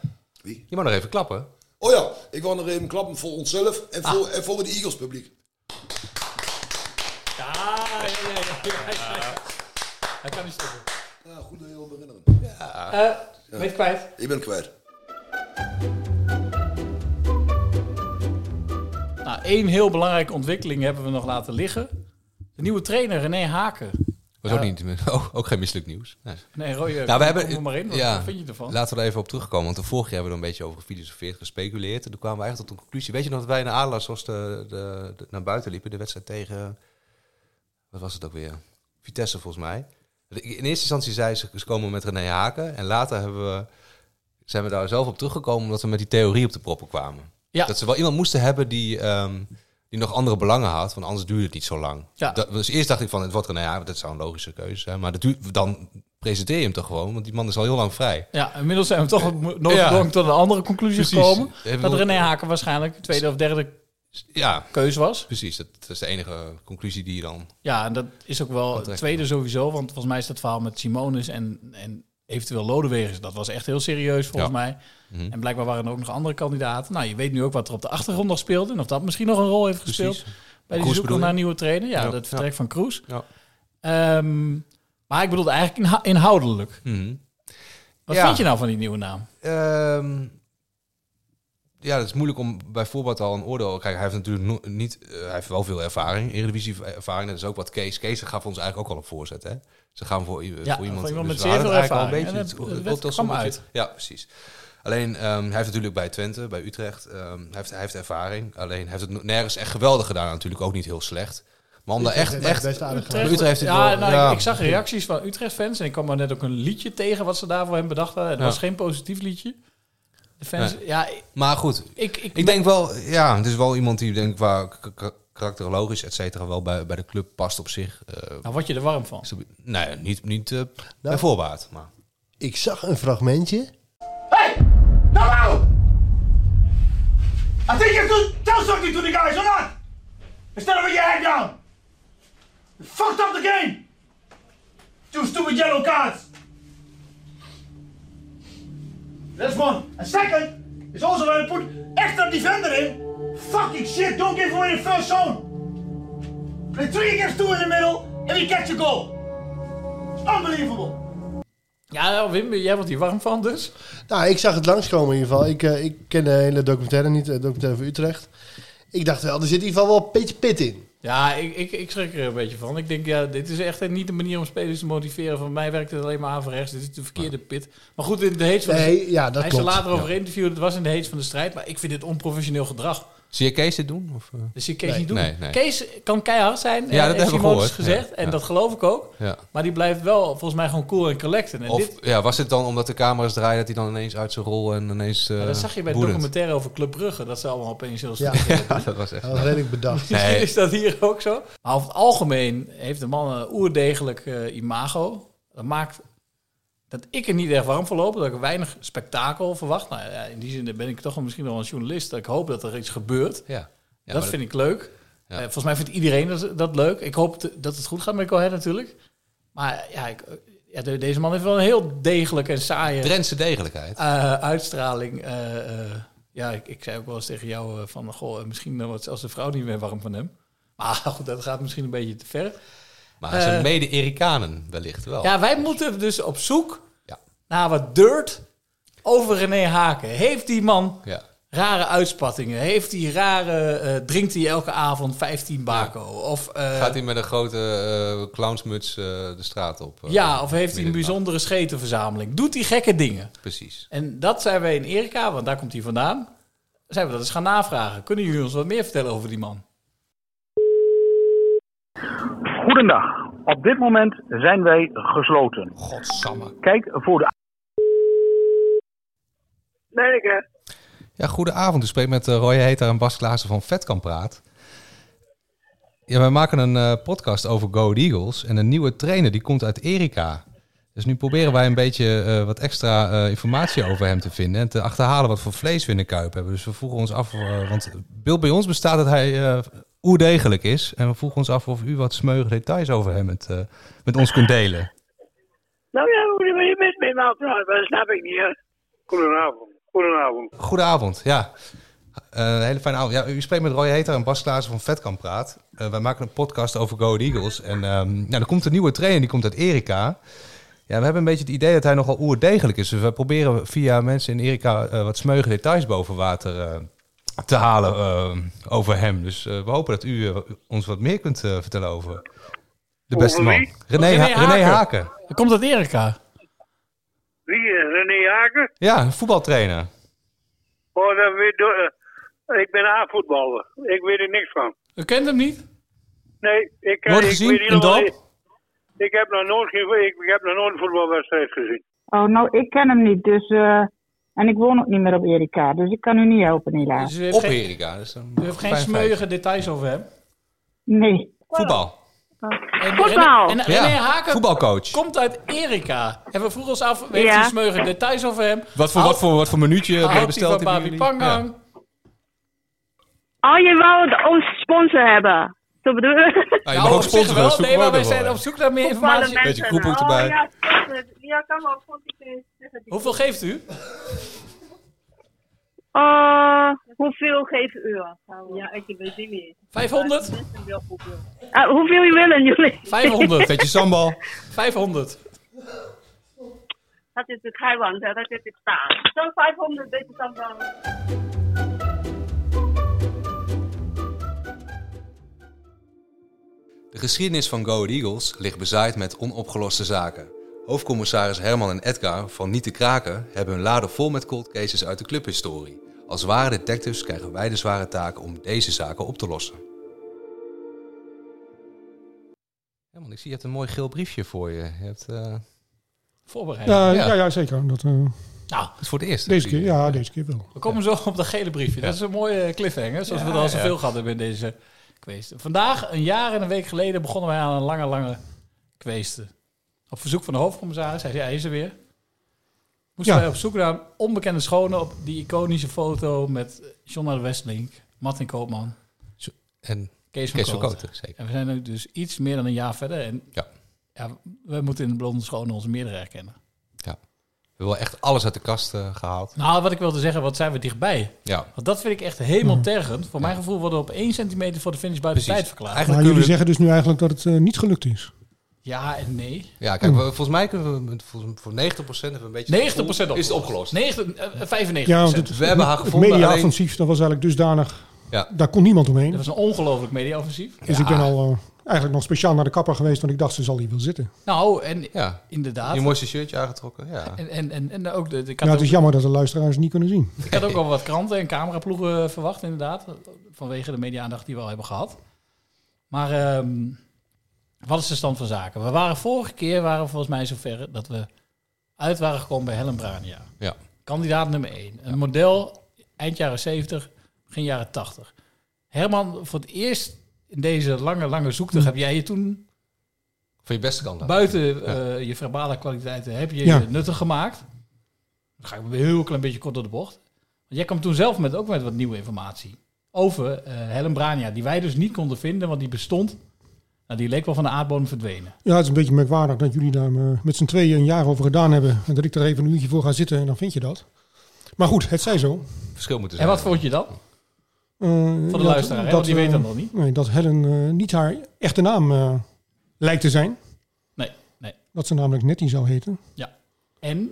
[SPEAKER 9] Wie? Je wou nog even klappen.
[SPEAKER 16] Oh ja, ik wil nog even klappen voor onszelf en voor, en voor het Eagles publiek.
[SPEAKER 3] Hij kan niet stoppen.
[SPEAKER 16] Ja, goed dat je wil herinneren.
[SPEAKER 3] Eh, ben je het kwijt?
[SPEAKER 16] Ik ben het kwijt.
[SPEAKER 3] Nou, één heel belangrijke ontwikkeling hebben we nog laten liggen. De nieuwe trainer, René Haken.
[SPEAKER 9] Was
[SPEAKER 3] Ja.
[SPEAKER 9] ook, niet, ook, ook geen misselijk nieuws. Nee,
[SPEAKER 3] Nee, Roy, eh,
[SPEAKER 9] Nou, we hebben,
[SPEAKER 3] kom er maar in. Wat
[SPEAKER 9] ja,
[SPEAKER 3] vind je ervan?
[SPEAKER 9] Laten we er even op terugkomen. Want de vorige jaar hebben we er een beetje over gefilosofeerd, gespeculeerd. En toen kwamen we eigenlijk tot een conclusie. Weet je nog dat wij naar Adelaars zoals de, de, de- naar buiten liepen? De wedstrijd tegen... Wat was het ook weer? Vitesse volgens mij. In eerste instantie zei ze, ze komen met René Haken. En later hebben we, zijn we daar zelf op teruggekomen... omdat we met die theorie op de proppen kwamen.
[SPEAKER 3] Ja.
[SPEAKER 9] Dat ze wel iemand moesten hebben die... ehm, die nog andere belangen had, want anders duurde het niet zo lang.
[SPEAKER 3] Ja.
[SPEAKER 9] Dat, dus eerst dacht ik van, het wordt René Haken, dat zou een logische keuze zijn. Maar dat duurt, dan presenteer je hem toch gewoon, want die man is al heel lang vrij.
[SPEAKER 3] Ja, inmiddels zijn we toch noodgedwongen
[SPEAKER 9] Eh, Ja.
[SPEAKER 3] tot een andere conclusie
[SPEAKER 9] Precies.
[SPEAKER 3] gekomen.
[SPEAKER 9] Hebben
[SPEAKER 3] Dat
[SPEAKER 9] we-
[SPEAKER 3] René Haken waarschijnlijk de tweede of derde...
[SPEAKER 9] ja.
[SPEAKER 3] keuze was.
[SPEAKER 9] Precies, dat, dat is de enige conclusie die je dan...
[SPEAKER 3] Ja, en dat is ook wel het
[SPEAKER 9] Contract.
[SPEAKER 3] tweede sowieso. Want volgens mij is dat verhaal met Simonis en, en eventueel Lodewegens... dat was echt heel serieus volgens
[SPEAKER 9] Ja.
[SPEAKER 3] mij.
[SPEAKER 9] Mhm.
[SPEAKER 3] En blijkbaar waren er ook nog andere kandidaten. Nou, je weet nu ook wat er op de achtergrond nog speelde... en of dat misschien nog een rol heeft
[SPEAKER 9] Precies.
[SPEAKER 3] gespeeld... bij
[SPEAKER 9] Kroes
[SPEAKER 3] die zoektocht
[SPEAKER 9] bedoel je?
[SPEAKER 3] naar een nieuwe trainer. Ja,
[SPEAKER 9] Ja,
[SPEAKER 3] dat
[SPEAKER 9] ja.
[SPEAKER 3] vertrek van Kroes.
[SPEAKER 9] Ja.
[SPEAKER 3] Ehm, maar ik bedoelde eigenlijk inha- inhoudelijk.
[SPEAKER 9] Mhm.
[SPEAKER 3] Wat
[SPEAKER 9] Ja.
[SPEAKER 3] vind je nou van die nieuwe naam?
[SPEAKER 9] Ehm, ja, het is moeilijk om bij voorbaat al een oordeel... Kijk, hij heeft natuurlijk no- niet... eh, hij heeft wel veel ervaring, Eredivisie ervaring. Dat is ook wat Kees... Kees gaf ons eigenlijk ook al een voorzet, hè? Ze gaan voor, i-
[SPEAKER 3] Ja,
[SPEAKER 9] voor iemand...
[SPEAKER 3] voor iemand met
[SPEAKER 9] dus we
[SPEAKER 3] zeer
[SPEAKER 9] hadden
[SPEAKER 3] veel
[SPEAKER 9] het eigenlijk wel
[SPEAKER 3] ervaring.
[SPEAKER 9] Een
[SPEAKER 3] En
[SPEAKER 9] beetje,
[SPEAKER 3] dat-
[SPEAKER 9] het
[SPEAKER 3] dat
[SPEAKER 9] tot
[SPEAKER 3] kwam
[SPEAKER 9] sommige-
[SPEAKER 3] uit.
[SPEAKER 9] Ja, precies. Alleen, ehm, hij heeft natuurlijk bij Twente, bij Utrecht... ehm, hij, heeft, hij heeft ervaring. Alleen, hij heeft het no- nergens echt geweldig gedaan. Natuurlijk ook niet heel slecht. Maar om daar
[SPEAKER 15] Utrecht
[SPEAKER 9] echt...
[SPEAKER 15] heeft
[SPEAKER 9] echt
[SPEAKER 15] best aardig
[SPEAKER 9] Utrecht, heeft het
[SPEAKER 3] ja,
[SPEAKER 9] wel-
[SPEAKER 3] nou,
[SPEAKER 9] ja.
[SPEAKER 3] Ik, ik zag reacties van Utrecht-fans en ik kwam er net ook een liedje tegen wat ze daarvoor hem bedacht hadden. Het
[SPEAKER 9] Ja.
[SPEAKER 3] was geen positief liedje. De fans,
[SPEAKER 9] Nee.
[SPEAKER 3] ja, ik-
[SPEAKER 9] Maar goed,
[SPEAKER 3] ik,
[SPEAKER 9] ik,
[SPEAKER 3] ik,
[SPEAKER 9] denk wel, ja, het is wel iemand die denk ik qua k- k- karakterologisch, et cetera, wel bij, bij de club past op zich. Eh,
[SPEAKER 3] Nou, word je er warm van?
[SPEAKER 9] is- nee, niet, niet
[SPEAKER 3] Nou.
[SPEAKER 9] eh bij voorbaat. Maar.
[SPEAKER 15] Ik zag een fragmentje.
[SPEAKER 17] Now out! I think you should tell something to the guys or not! Instead of with your head down! You fucked up the game! Two stupid yellow cards! That's one. And second, is also when I put extra defender in. Fucking shit, don't give away the first zone! Play three against two in the middle, and we catch a goal! It's unbelievable!
[SPEAKER 3] Ja, nou, Wim, jij wordt hier warm van dus.
[SPEAKER 15] Nou, ik zag het langskomen in ieder geval. Ik, eh, ik ken de hele documentaire niet, de documentaire van Utrecht. Ik dacht wel, er zit in ieder geval wel een beetje pit in.
[SPEAKER 3] Ja, ik, ik, ik schrik er een beetje van. Ik denk, ja, dit is echt niet de manier om spelers te motiveren. Voor mij werkt het alleen maar aan voor rechts. Dit is de verkeerde pit. Maar goed, in de heets van de-
[SPEAKER 15] Nee, ja, dat
[SPEAKER 3] hij is
[SPEAKER 15] klopt.
[SPEAKER 3] er later over
[SPEAKER 15] Ja.
[SPEAKER 3] interviewd. Het was in de heets van de strijd. Maar ik vind dit onprofessioneel gedrag.
[SPEAKER 9] Zie je Kees dit doen? Of, eh?
[SPEAKER 3] Dus je Kees niet doen.
[SPEAKER 9] Nee, nee.
[SPEAKER 3] Kees kan keihard zijn.
[SPEAKER 9] Ja, dat
[SPEAKER 3] heeft
[SPEAKER 9] hebben we gehoord.
[SPEAKER 3] Simonis gezegd.
[SPEAKER 9] Ja,
[SPEAKER 3] en
[SPEAKER 9] ja.
[SPEAKER 3] dat geloof ik ook.
[SPEAKER 9] Ja.
[SPEAKER 3] Maar die blijft wel volgens mij gewoon cool en collecten. En
[SPEAKER 9] Of
[SPEAKER 3] dit,
[SPEAKER 9] ja, was het dan omdat de camera's draaien dat hij dan ineens uit zijn rol en ineens. eh
[SPEAKER 3] ja, dat zag je bij het
[SPEAKER 9] woedend?
[SPEAKER 3] documentaire over Club Brugge. Dat ze allemaal opeens heel
[SPEAKER 9] Ja.
[SPEAKER 3] stil
[SPEAKER 9] Ja, dat was echt-
[SPEAKER 15] Dat was redelijk bedacht.
[SPEAKER 3] Misschien
[SPEAKER 9] Nee.
[SPEAKER 3] is dat hier ook zo. Maar over het algemeen heeft de man een oerdegelijk eh, imago. Dat maakt dat ik er niet echt warm voor loop. Dat ik weinig spektakel verwacht. Nou, ja, in die zin ben ik toch wel misschien wel een journalist. Dat ik hoop dat er iets gebeurt.
[SPEAKER 9] Ja. maar
[SPEAKER 3] dat
[SPEAKER 9] dat-
[SPEAKER 3] vind ik leuk. Eh, volgens mij vindt iedereen dat, dat leuk. Ik hoop te- dat het goed gaat met Cohen natuurlijk. Maar ja, ik, ja, de- deze man heeft wel een heel degelijk en saaie...
[SPEAKER 9] Drentse degelijkheid.
[SPEAKER 3] eh, uitstraling. eh, eh, ja, ik, ik zei ook wel eens tegen jou eh, van... Goh, eh, misschien eh, wordt zelfs de vrouw niet meer warm van hem. Maar goed, dat gaat misschien een beetje te ver.
[SPEAKER 9] Maar hij zijn
[SPEAKER 3] Eh,
[SPEAKER 9] mede-Erikanen wellicht wel.
[SPEAKER 3] Ja, wij moeten dus op zoek naar wat dirt over René Haken. Heeft die man
[SPEAKER 9] Ja.
[SPEAKER 3] rare uitspattingen? Heeft hij rare... eh, drinkt hij elke avond 15 bako? Of, eh,
[SPEAKER 9] Gaat hij met een grote eh, clownsmuts eh, de straat op? eh,
[SPEAKER 3] ja, of heeft hij een
[SPEAKER 9] midden in de
[SPEAKER 3] bijzondere schetenverzameling? Doet hij gekke dingen?
[SPEAKER 9] nacht? Precies.
[SPEAKER 3] En dat zijn wij in Erika, want daar komt hij vandaan. Zijn we dat eens gaan navragen? Kunnen jullie ons wat meer vertellen over die man?
[SPEAKER 18] Goedendag. Op dit moment zijn wij gesloten.
[SPEAKER 9] Godsamme.
[SPEAKER 18] Kijk voor de.
[SPEAKER 19] Nee, ik, eh,
[SPEAKER 9] Ja, goedenavond. U spreekt met eh, Roy Heter en Bas Klaassen van Vetkamp Praat. Ja, wij maken een eh, podcast over Go The Eagles. En een nieuwe trainer die komt uit Erika. Dus nu proberen wij een beetje eh, wat extra eh, informatie over hem te vinden. En te achterhalen wat voor vlees we in de kuip hebben. Dus we vroegen ons af, eh, want het beeld bij ons bestaat dat hij eh, oerdegelijk is. En we vroegen ons af of u wat smeuïge details over hem met, eh, met ons kunt delen.
[SPEAKER 19] nou ja, hoe ben je met me nou trouwens? Dat snap ik niet. Hè? Goedenavond. Goedenavond.
[SPEAKER 9] Goedenavond, ja. Eh, een hele fijne avond. Ja, u spreekt met Roy Heter en Bas Klaassen van Vetkamp Praat. Eh, wij maken een podcast over Go Ahead Eagles. En ehm ja, er komt een nieuwe trainer, die komt uit Erika. Ja, we hebben een beetje het idee dat hij nogal oerdegelijk is. Dus we proberen via mensen in Erika eh, wat smeuïge details boven water eh, te halen eh, over hem. Dus eh, we hopen dat u eh, ons wat meer kunt eh, vertellen over de beste
[SPEAKER 19] Over
[SPEAKER 9] man.
[SPEAKER 19] wie?
[SPEAKER 9] René, Ha- René Haken.
[SPEAKER 3] Dat komt uit Erika.
[SPEAKER 19] Wie is René Haken?
[SPEAKER 9] Ja, voetbaltrainer.
[SPEAKER 19] Oh, dat weet, eh, ik ben A-voetballer. Ik weet er niks van.
[SPEAKER 3] U kent hem niet?
[SPEAKER 19] Nee, ik, eh,
[SPEAKER 3] Nooit
[SPEAKER 19] ik
[SPEAKER 3] gezien?
[SPEAKER 19] weet niet
[SPEAKER 3] Een
[SPEAKER 19] of-
[SPEAKER 3] dorp?
[SPEAKER 19] Ik, ik heb nog nooit, geen- ik, ik heb nog nooit een voetbalwedstrijd gezien.
[SPEAKER 20] Oh, nou, ik ken hem niet, dus... eh, en ik woon ook niet meer op Erika, dus ik kan u niet helpen, helaas.
[SPEAKER 3] Dus u heeft
[SPEAKER 9] Op
[SPEAKER 3] geen-
[SPEAKER 9] Erika. Dus dan
[SPEAKER 3] U heeft geen
[SPEAKER 9] fijn
[SPEAKER 3] smeuïge details over hem.
[SPEAKER 20] Nee.
[SPEAKER 9] Voetbal.
[SPEAKER 3] En,
[SPEAKER 20] Voetbal.
[SPEAKER 3] En, en
[SPEAKER 9] Ja,
[SPEAKER 3] René Haken
[SPEAKER 9] voetbalcoach.
[SPEAKER 3] komt uit Erika. En we vroegen ons af, heeft
[SPEAKER 9] Ja.
[SPEAKER 3] hij smeuïge details over hem?
[SPEAKER 9] Wat voor, wat voor, wat voor minuutje
[SPEAKER 3] Houdt
[SPEAKER 9] heb je
[SPEAKER 3] hij
[SPEAKER 9] besteld?
[SPEAKER 3] van
[SPEAKER 9] hebben
[SPEAKER 3] Babi Nou,
[SPEAKER 9] jullie? Ja.
[SPEAKER 3] Pangang?
[SPEAKER 21] Oh, je wou het ons sponsor hebben. Dat bedoel je?
[SPEAKER 9] Ja, Ah, je mag ook
[SPEAKER 3] Nou, op zich
[SPEAKER 9] sponsoren,
[SPEAKER 3] wel.
[SPEAKER 9] dat is
[SPEAKER 3] Nee, maar wij
[SPEAKER 9] voetballer
[SPEAKER 3] zijn
[SPEAKER 9] worden.
[SPEAKER 3] op zoek naar meer
[SPEAKER 9] Voetballen
[SPEAKER 3] informatie.
[SPEAKER 9] mensen, Beetje kroephoek nou. erbij.
[SPEAKER 21] Ja, ja, kan wel sponsor
[SPEAKER 3] Hoeveel geeft u?
[SPEAKER 21] hoeveel geven u? Ja, ik weet niet meer.
[SPEAKER 3] 500?
[SPEAKER 21] hoeveel je willen, jullie?
[SPEAKER 3] 500.
[SPEAKER 9] Beetje sambal.
[SPEAKER 3] 500.
[SPEAKER 21] Dat is de Taiwan, hè, dat is het staan. Zo'n 500 beter dan wel.
[SPEAKER 9] De geschiedenis van Go Ahead Eagles ligt bezaaid met onopgeloste zaken. Hoofdcommissaris Herman en Edgar van Niet te Kraken hebben hun laden vol met cold cases uit de clubhistorie. Als ware detectives krijgen wij de zware taak om deze zaken op te lossen. Herman, ik zie je hebt een mooi geel briefje voor je. je hebt, eh,
[SPEAKER 3] Voorbereid.
[SPEAKER 22] Ja, ja. ja, zeker. Dat, eh,
[SPEAKER 3] nou,
[SPEAKER 9] is voor het eerst.
[SPEAKER 22] Deze keer, ja, deze keer wel.
[SPEAKER 3] We komen zo op dat gele briefje. Dat is een mooie cliffhanger, zoals
[SPEAKER 22] Ja,
[SPEAKER 3] we er al
[SPEAKER 22] ja.
[SPEAKER 3] zoveel gehad hebben in deze quest. Vandaag, een jaar en een week geleden, begonnen wij aan een lange, lange queste. Op verzoek van de hoofdcommissaris, hij zei, hij is er weer. Moesten
[SPEAKER 22] Ja.
[SPEAKER 3] wij op zoek naar een onbekende schone op die iconische foto met John de Westlink, Martin Koopman
[SPEAKER 9] en
[SPEAKER 3] Kees van
[SPEAKER 9] Kees
[SPEAKER 3] Kooten.
[SPEAKER 9] van Kooten, zeker.
[SPEAKER 3] En we zijn nu dus iets meer dan een jaar verder. En
[SPEAKER 9] ja.
[SPEAKER 3] we moeten in de blonde schone onze meerdere herkennen.
[SPEAKER 9] We hebben wel echt alles uit de kast eh, gehaald.
[SPEAKER 3] Nou, wat ik wilde zeggen, wat zijn we dichtbij.
[SPEAKER 9] Ja.
[SPEAKER 3] Want dat vind ik echt helemaal tergend. Voor mijn gevoel worden we op één centimeter voor de finish buiten tijd verklaard.
[SPEAKER 22] maar jullie zeggen dus nu eigenlijk dat het eh, niet gelukt is.
[SPEAKER 3] Ja en nee.
[SPEAKER 9] Ja, kijk, we- volgens mij kunnen we met- voor voor 90% hebben we een beetje...
[SPEAKER 3] 90%
[SPEAKER 9] het gevoel, Is het opgelost?
[SPEAKER 3] 90, eh, 95%.
[SPEAKER 22] Ja, want het,
[SPEAKER 9] We hebben haar
[SPEAKER 22] het
[SPEAKER 9] gevonden,
[SPEAKER 22] media-offensief, dat was eigenlijk dusdanig...
[SPEAKER 9] Ja.
[SPEAKER 22] Daar kon niemand omheen.
[SPEAKER 3] Dat was een ongelooflijk media-offensief.
[SPEAKER 22] Dus ik ben al eh, Eigenlijk nog speciaal naar de kapper geweest, want ik dacht ze zal hier wel zitten.
[SPEAKER 3] Nou, en inderdaad.
[SPEAKER 9] Je mooiste shirtje aangetrokken, ja.
[SPEAKER 3] En, en, en, en ook de, ik had
[SPEAKER 22] Ja, het
[SPEAKER 3] ook-
[SPEAKER 22] is jammer dat de luisteraars het niet kunnen zien.
[SPEAKER 3] Ik had ook al wat kranten en cameraploegen verwacht, inderdaad. Vanwege de media-aandacht die we al hebben gehad. Maar ehm, wat is de stand van zaken? We waren vorige keer, waren we volgens mij zover dat we uit waren gekomen bij Helen Brania.
[SPEAKER 9] Ja.
[SPEAKER 3] Kandidaat nummer 1. Een model eind jaren 70, begin jaren 80. Herman, voor het eerst in deze lange, lange zoektocht heb jij je toen
[SPEAKER 9] Van je beste
[SPEAKER 22] Nou,
[SPEAKER 9] kant.
[SPEAKER 3] buiten eh, je verbale kwaliteiten heb je
[SPEAKER 9] Ja.
[SPEAKER 3] je nuttig gemaakt. Dan ga ik weer een heel klein beetje kort door de bocht. Want jij kwam toen zelf met, ook met wat nieuwe informatie over eh Helen Brania, die wij dus niet konden vinden, want die bestond. Nou, die leek wel van de aardbodem verdwenen.
[SPEAKER 22] Ja, het is een beetje merkwaardig dat jullie daar eh, met z'n tweeën een jaar over gedaan hebben. En dat ik er even een uurtje voor ga zitten en dan vind je dat. Maar goed, het zij zo.
[SPEAKER 9] Verschil moeten
[SPEAKER 3] en
[SPEAKER 9] zijn.
[SPEAKER 3] wat vond je dan?
[SPEAKER 22] Eh,
[SPEAKER 3] Voor de luisteraar, hè, want die
[SPEAKER 22] eh,
[SPEAKER 3] weet dat nog niet.
[SPEAKER 22] Nee, dat Helen eh, niet haar echte naam eh, lijkt te zijn.
[SPEAKER 3] Nee, nee.
[SPEAKER 22] Dat ze namelijk Nettie zou heten.
[SPEAKER 3] Ja. En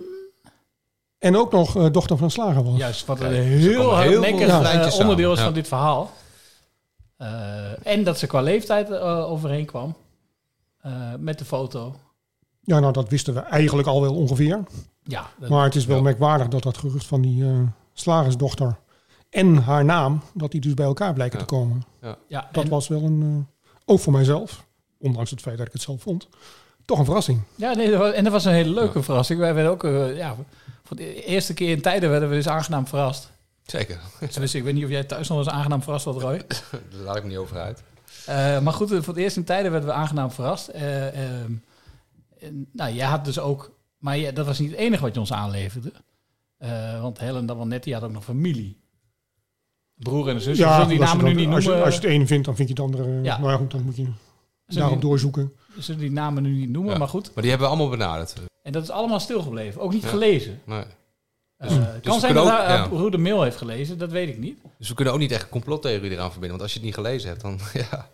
[SPEAKER 22] En ook nog eh, dochter van een slager was.
[SPEAKER 3] juist wat een
[SPEAKER 22] Kijk, er
[SPEAKER 3] heel
[SPEAKER 22] komen
[SPEAKER 3] hardnekkig
[SPEAKER 22] veel
[SPEAKER 3] eh,
[SPEAKER 22] lijntjes
[SPEAKER 3] onderdeel is
[SPEAKER 22] samen.
[SPEAKER 3] van dit verhaal. Eh, en dat ze qua leeftijd eh, overeen kwam eh, met de foto.
[SPEAKER 22] Ja, nou dat wisten we eigenlijk al wel ongeveer.
[SPEAKER 3] Ja, dat-
[SPEAKER 22] maar het is wel
[SPEAKER 3] ja.
[SPEAKER 22] merkwaardig dat dat gerucht van die eh, slagersdochter en haar naam, dat die dus bij elkaar blijken te komen.
[SPEAKER 9] Ja.
[SPEAKER 3] Ja,
[SPEAKER 22] dat was wel een, eh, ook voor mijzelf, ondanks het feit dat ik het zelf vond, toch een verrassing.
[SPEAKER 3] Ja, nee, dat was- en dat was een hele leuke verrassing. Wij werden ook, eh, ja, voor de eerste keer in tijden werden we dus aangenaam verrast.
[SPEAKER 9] Zeker.
[SPEAKER 3] Tenminste, ik weet niet of jij thuis nog eens aangenaam verrast was, Roy.
[SPEAKER 9] Daar laat ik me niet over uit.
[SPEAKER 3] Eh, maar goed, eh, voor het eerst in tijden werden we aangenaam verrast. Eh, ehm, en, nou, jij had dus ook... Maar ja, dat was niet het enige wat je ons aanleverde. Eh, want Helen Davalnetti had ook nog familie. Broer en een zus. we zullen Dus die
[SPEAKER 22] als je
[SPEAKER 3] namen nu
[SPEAKER 22] dat-
[SPEAKER 3] niet noemen.
[SPEAKER 22] als, je,
[SPEAKER 3] eh,
[SPEAKER 22] als je het een vindt, dan vind je het andere. eh,
[SPEAKER 3] Ja.
[SPEAKER 22] Maar goed, dan moet je
[SPEAKER 3] die-
[SPEAKER 22] daarop doorzoeken.
[SPEAKER 3] we zullen die namen nu niet noemen, maar goed.
[SPEAKER 9] Maar die hebben we allemaal benaderd.
[SPEAKER 3] En dat is allemaal stilgebleven. Ook niet
[SPEAKER 9] Ja.
[SPEAKER 3] gelezen.
[SPEAKER 9] Nee.
[SPEAKER 3] Eh,
[SPEAKER 9] Dus-
[SPEAKER 3] het
[SPEAKER 9] dus
[SPEAKER 3] kan
[SPEAKER 9] we
[SPEAKER 3] zijn
[SPEAKER 9] kunnen
[SPEAKER 3] dat
[SPEAKER 9] ook-
[SPEAKER 3] hij,
[SPEAKER 9] ja.
[SPEAKER 3] eh, hoe de mail heeft gelezen, dat weet ik niet.
[SPEAKER 9] Dus we kunnen ook niet echt een complottheorie eraan verbinden. Want als je het niet gelezen hebt, dan... Ja,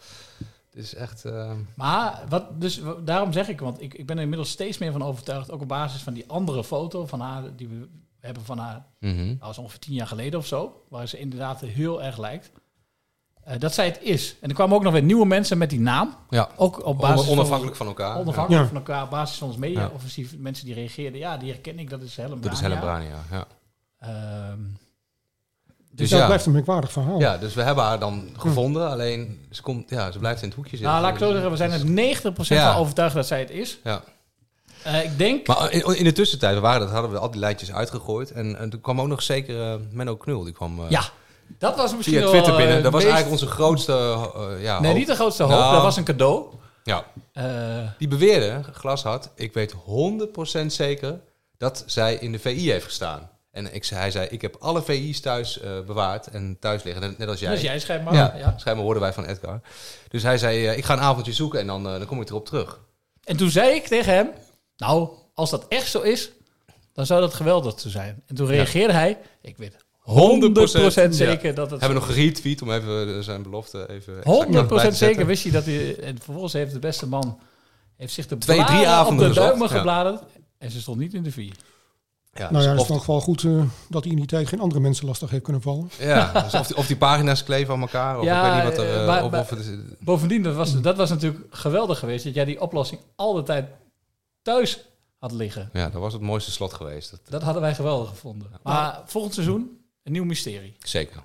[SPEAKER 9] het is echt... eh,
[SPEAKER 3] Maar wat, dus, wa- daarom zeg ik, want ik, ik ben er inmiddels steeds meer van overtuigd, ook op basis van die andere foto van haar, die we hebben van haar,
[SPEAKER 9] Mhm.
[SPEAKER 3] nou, dat is ongeveer tien jaar geleden of zo, waar ze inderdaad heel erg lijkt, eh, dat zij het is. En er kwamen ook nog weer nieuwe mensen met die naam.
[SPEAKER 9] Ja.
[SPEAKER 3] Ook op
[SPEAKER 9] On-
[SPEAKER 3] basis van-
[SPEAKER 9] onafhankelijk van elkaar.
[SPEAKER 3] Onafhankelijk
[SPEAKER 9] Ja.
[SPEAKER 3] van elkaar, op basis van ons media
[SPEAKER 9] Ja.
[SPEAKER 3] offensief. Mensen die reageerden, ja, die herken ik, dat is Helen
[SPEAKER 9] Dat is Helen Brania, ja.
[SPEAKER 3] Ehm,
[SPEAKER 22] Dus dat blijft een merkwaardig verhaal.
[SPEAKER 9] Ja, dus we hebben haar dan gevonden. Alleen, ze, komt, ja, ze blijft in het hoekje zitten.
[SPEAKER 3] Hm. nou, laat ik zo zeggen, we zijn er 90%
[SPEAKER 9] Ja.
[SPEAKER 3] van overtuigd dat zij het is.
[SPEAKER 9] Ja.
[SPEAKER 3] Eh, ik denk
[SPEAKER 9] Maar in, in de tussentijd we waren, dat, hadden we al die lijntjes uitgegooid. En, en toen kwam ook nog zeker eh, Menno Knul. Die kwam, eh,
[SPEAKER 3] Ja, dat was misschien
[SPEAKER 9] via
[SPEAKER 3] wel,
[SPEAKER 9] Twitter
[SPEAKER 3] eh,
[SPEAKER 9] binnen. Dat
[SPEAKER 3] het
[SPEAKER 9] was
[SPEAKER 3] meest-
[SPEAKER 9] eigenlijk onze grootste eh, ja,
[SPEAKER 3] Nee,
[SPEAKER 9] hoop. Nou,
[SPEAKER 3] niet de grootste hoop. Dat was een cadeau.
[SPEAKER 9] Ja.
[SPEAKER 3] Eh.
[SPEAKER 9] die beweerde, Glashart, ik weet 100% zeker dat zij in de VI heeft gestaan. En ik, zei- hij zei, ik heb alle VI's thuis eh, bewaard en thuis liggen. Net, net als jij.
[SPEAKER 3] Net als jij, schijnbaar.
[SPEAKER 9] Oh, Ja,
[SPEAKER 3] Ja.
[SPEAKER 9] schijnbaar hoorden wij van Edgar. Dus hij zei, eh, ik ga een avondje zoeken en dan, eh, dan kom ik erop terug.
[SPEAKER 3] En toen zei ik tegen hem, nou, als dat echt zo is, dan zou dat geweldig te zijn. En toen
[SPEAKER 9] Ja.
[SPEAKER 3] reageerde hij, ik weet 100% zeker
[SPEAKER 9] Ja.
[SPEAKER 3] dat het...
[SPEAKER 9] Hebben we nog geretweet om even eh, zijn belofte even... exact erbij te
[SPEAKER 3] 100% zeker
[SPEAKER 9] zetten.
[SPEAKER 3] wist hij dat hij... En vervolgens heeft de beste man heeft zich de
[SPEAKER 9] Twee, drie
[SPEAKER 3] bladen
[SPEAKER 9] avonden
[SPEAKER 3] op de
[SPEAKER 9] gezocht,
[SPEAKER 3] duimen
[SPEAKER 9] ja.
[SPEAKER 3] gebladerd. En ze stond niet in de vier.
[SPEAKER 9] Ja,
[SPEAKER 22] nou ja, het
[SPEAKER 9] dus
[SPEAKER 22] is in ieder geval goed eh, dat hij in die tijd geen andere mensen lastig heeft kunnen vallen.
[SPEAKER 9] Ja, dus of, die, of die pagina's kleven aan elkaar. Of ik weet niet wat er...
[SPEAKER 3] eh,
[SPEAKER 9] eh,
[SPEAKER 3] maar-
[SPEAKER 9] of,
[SPEAKER 3] maar-
[SPEAKER 9] of het is-
[SPEAKER 3] bovendien, dat was, dat was natuurlijk geweldig geweest. Dat jij die oplossing al de tijd thuis had liggen.
[SPEAKER 9] ja, dat was het mooiste slot geweest. Dat,
[SPEAKER 3] Dat hadden wij geweldig gevonden. Maar volgend seizoen, een nieuw mysterie.
[SPEAKER 9] Zeker.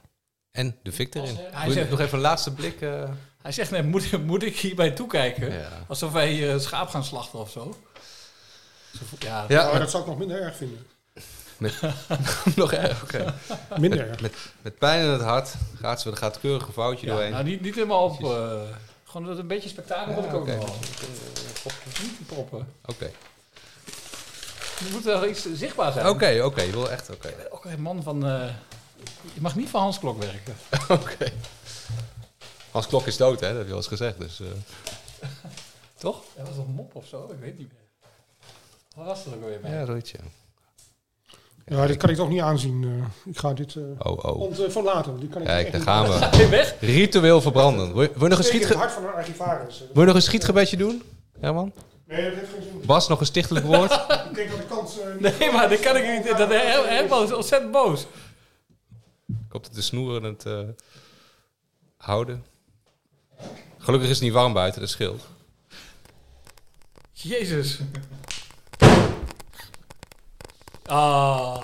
[SPEAKER 9] En de victor in.
[SPEAKER 3] Hij
[SPEAKER 9] Moet je
[SPEAKER 3] zegt-
[SPEAKER 9] nog even een laatste blik... eh,
[SPEAKER 3] Hij zegt, nee, moet, moet ik hierbij toekijken?
[SPEAKER 9] Ja.
[SPEAKER 3] Alsof wij hier een schaap gaan slachten of zo. Zo vo- Ja,
[SPEAKER 22] Ja,
[SPEAKER 15] Nou,
[SPEAKER 22] dat zou ik nog minder erg vinden.
[SPEAKER 9] Met, nog erg, oké.
[SPEAKER 22] Minder
[SPEAKER 9] Met,
[SPEAKER 22] erg.
[SPEAKER 9] met, met pijn in het hart gaat ze er gaat keurig een foutje
[SPEAKER 3] Ja,
[SPEAKER 9] doorheen.
[SPEAKER 3] nou, niet, niet helemaal op... eh, gewoon dat een beetje spektakel wil ik ook
[SPEAKER 9] oké.
[SPEAKER 3] nog wel. Eh, Niet te proppen.
[SPEAKER 9] Oké,
[SPEAKER 3] Er moet wel iets zichtbaar zijn.
[SPEAKER 9] oké, oké, je wil echt, oké.
[SPEAKER 3] Ook een man van... eh, je mag niet van Hans Klok werken.
[SPEAKER 9] Oké. Hans Klok is dood, hè? Dat heb je al eens gezegd. Dus, eh, Toch?
[SPEAKER 3] Dat was een mop of zo, ik weet niet meer. Wat was er ook alweer mee?
[SPEAKER 9] ja, zoiets, ja.
[SPEAKER 22] Ja, dit kan ik toch niet aanzien. eh. ik ga dit eh
[SPEAKER 9] Oh, oh.
[SPEAKER 22] ont- eh, verlaten. Die kan ik
[SPEAKER 9] Kijk,
[SPEAKER 22] echt
[SPEAKER 9] daar
[SPEAKER 22] niet-
[SPEAKER 9] gaan we. Ritueel verbranden. Wil je, wil je nog een
[SPEAKER 22] Steek in het
[SPEAKER 9] schietge-
[SPEAKER 22] hart van een archivaris. eh.
[SPEAKER 9] wil je nog een schietgebedje doen, Herman?
[SPEAKER 22] Nee, dat heeft geen zin.
[SPEAKER 9] Bas, nog een stichtelijk woord?
[SPEAKER 22] Ik denk dat de kans... eh, niet-
[SPEAKER 3] Nee, maar dat kan ik niet. Dat, Her- Herman is ontzettend boos.
[SPEAKER 9] Ik hoop dat de snoeren het eh, houden. Gelukkig is het niet warm buiten, dat scheelt.
[SPEAKER 3] Jezus. Ah.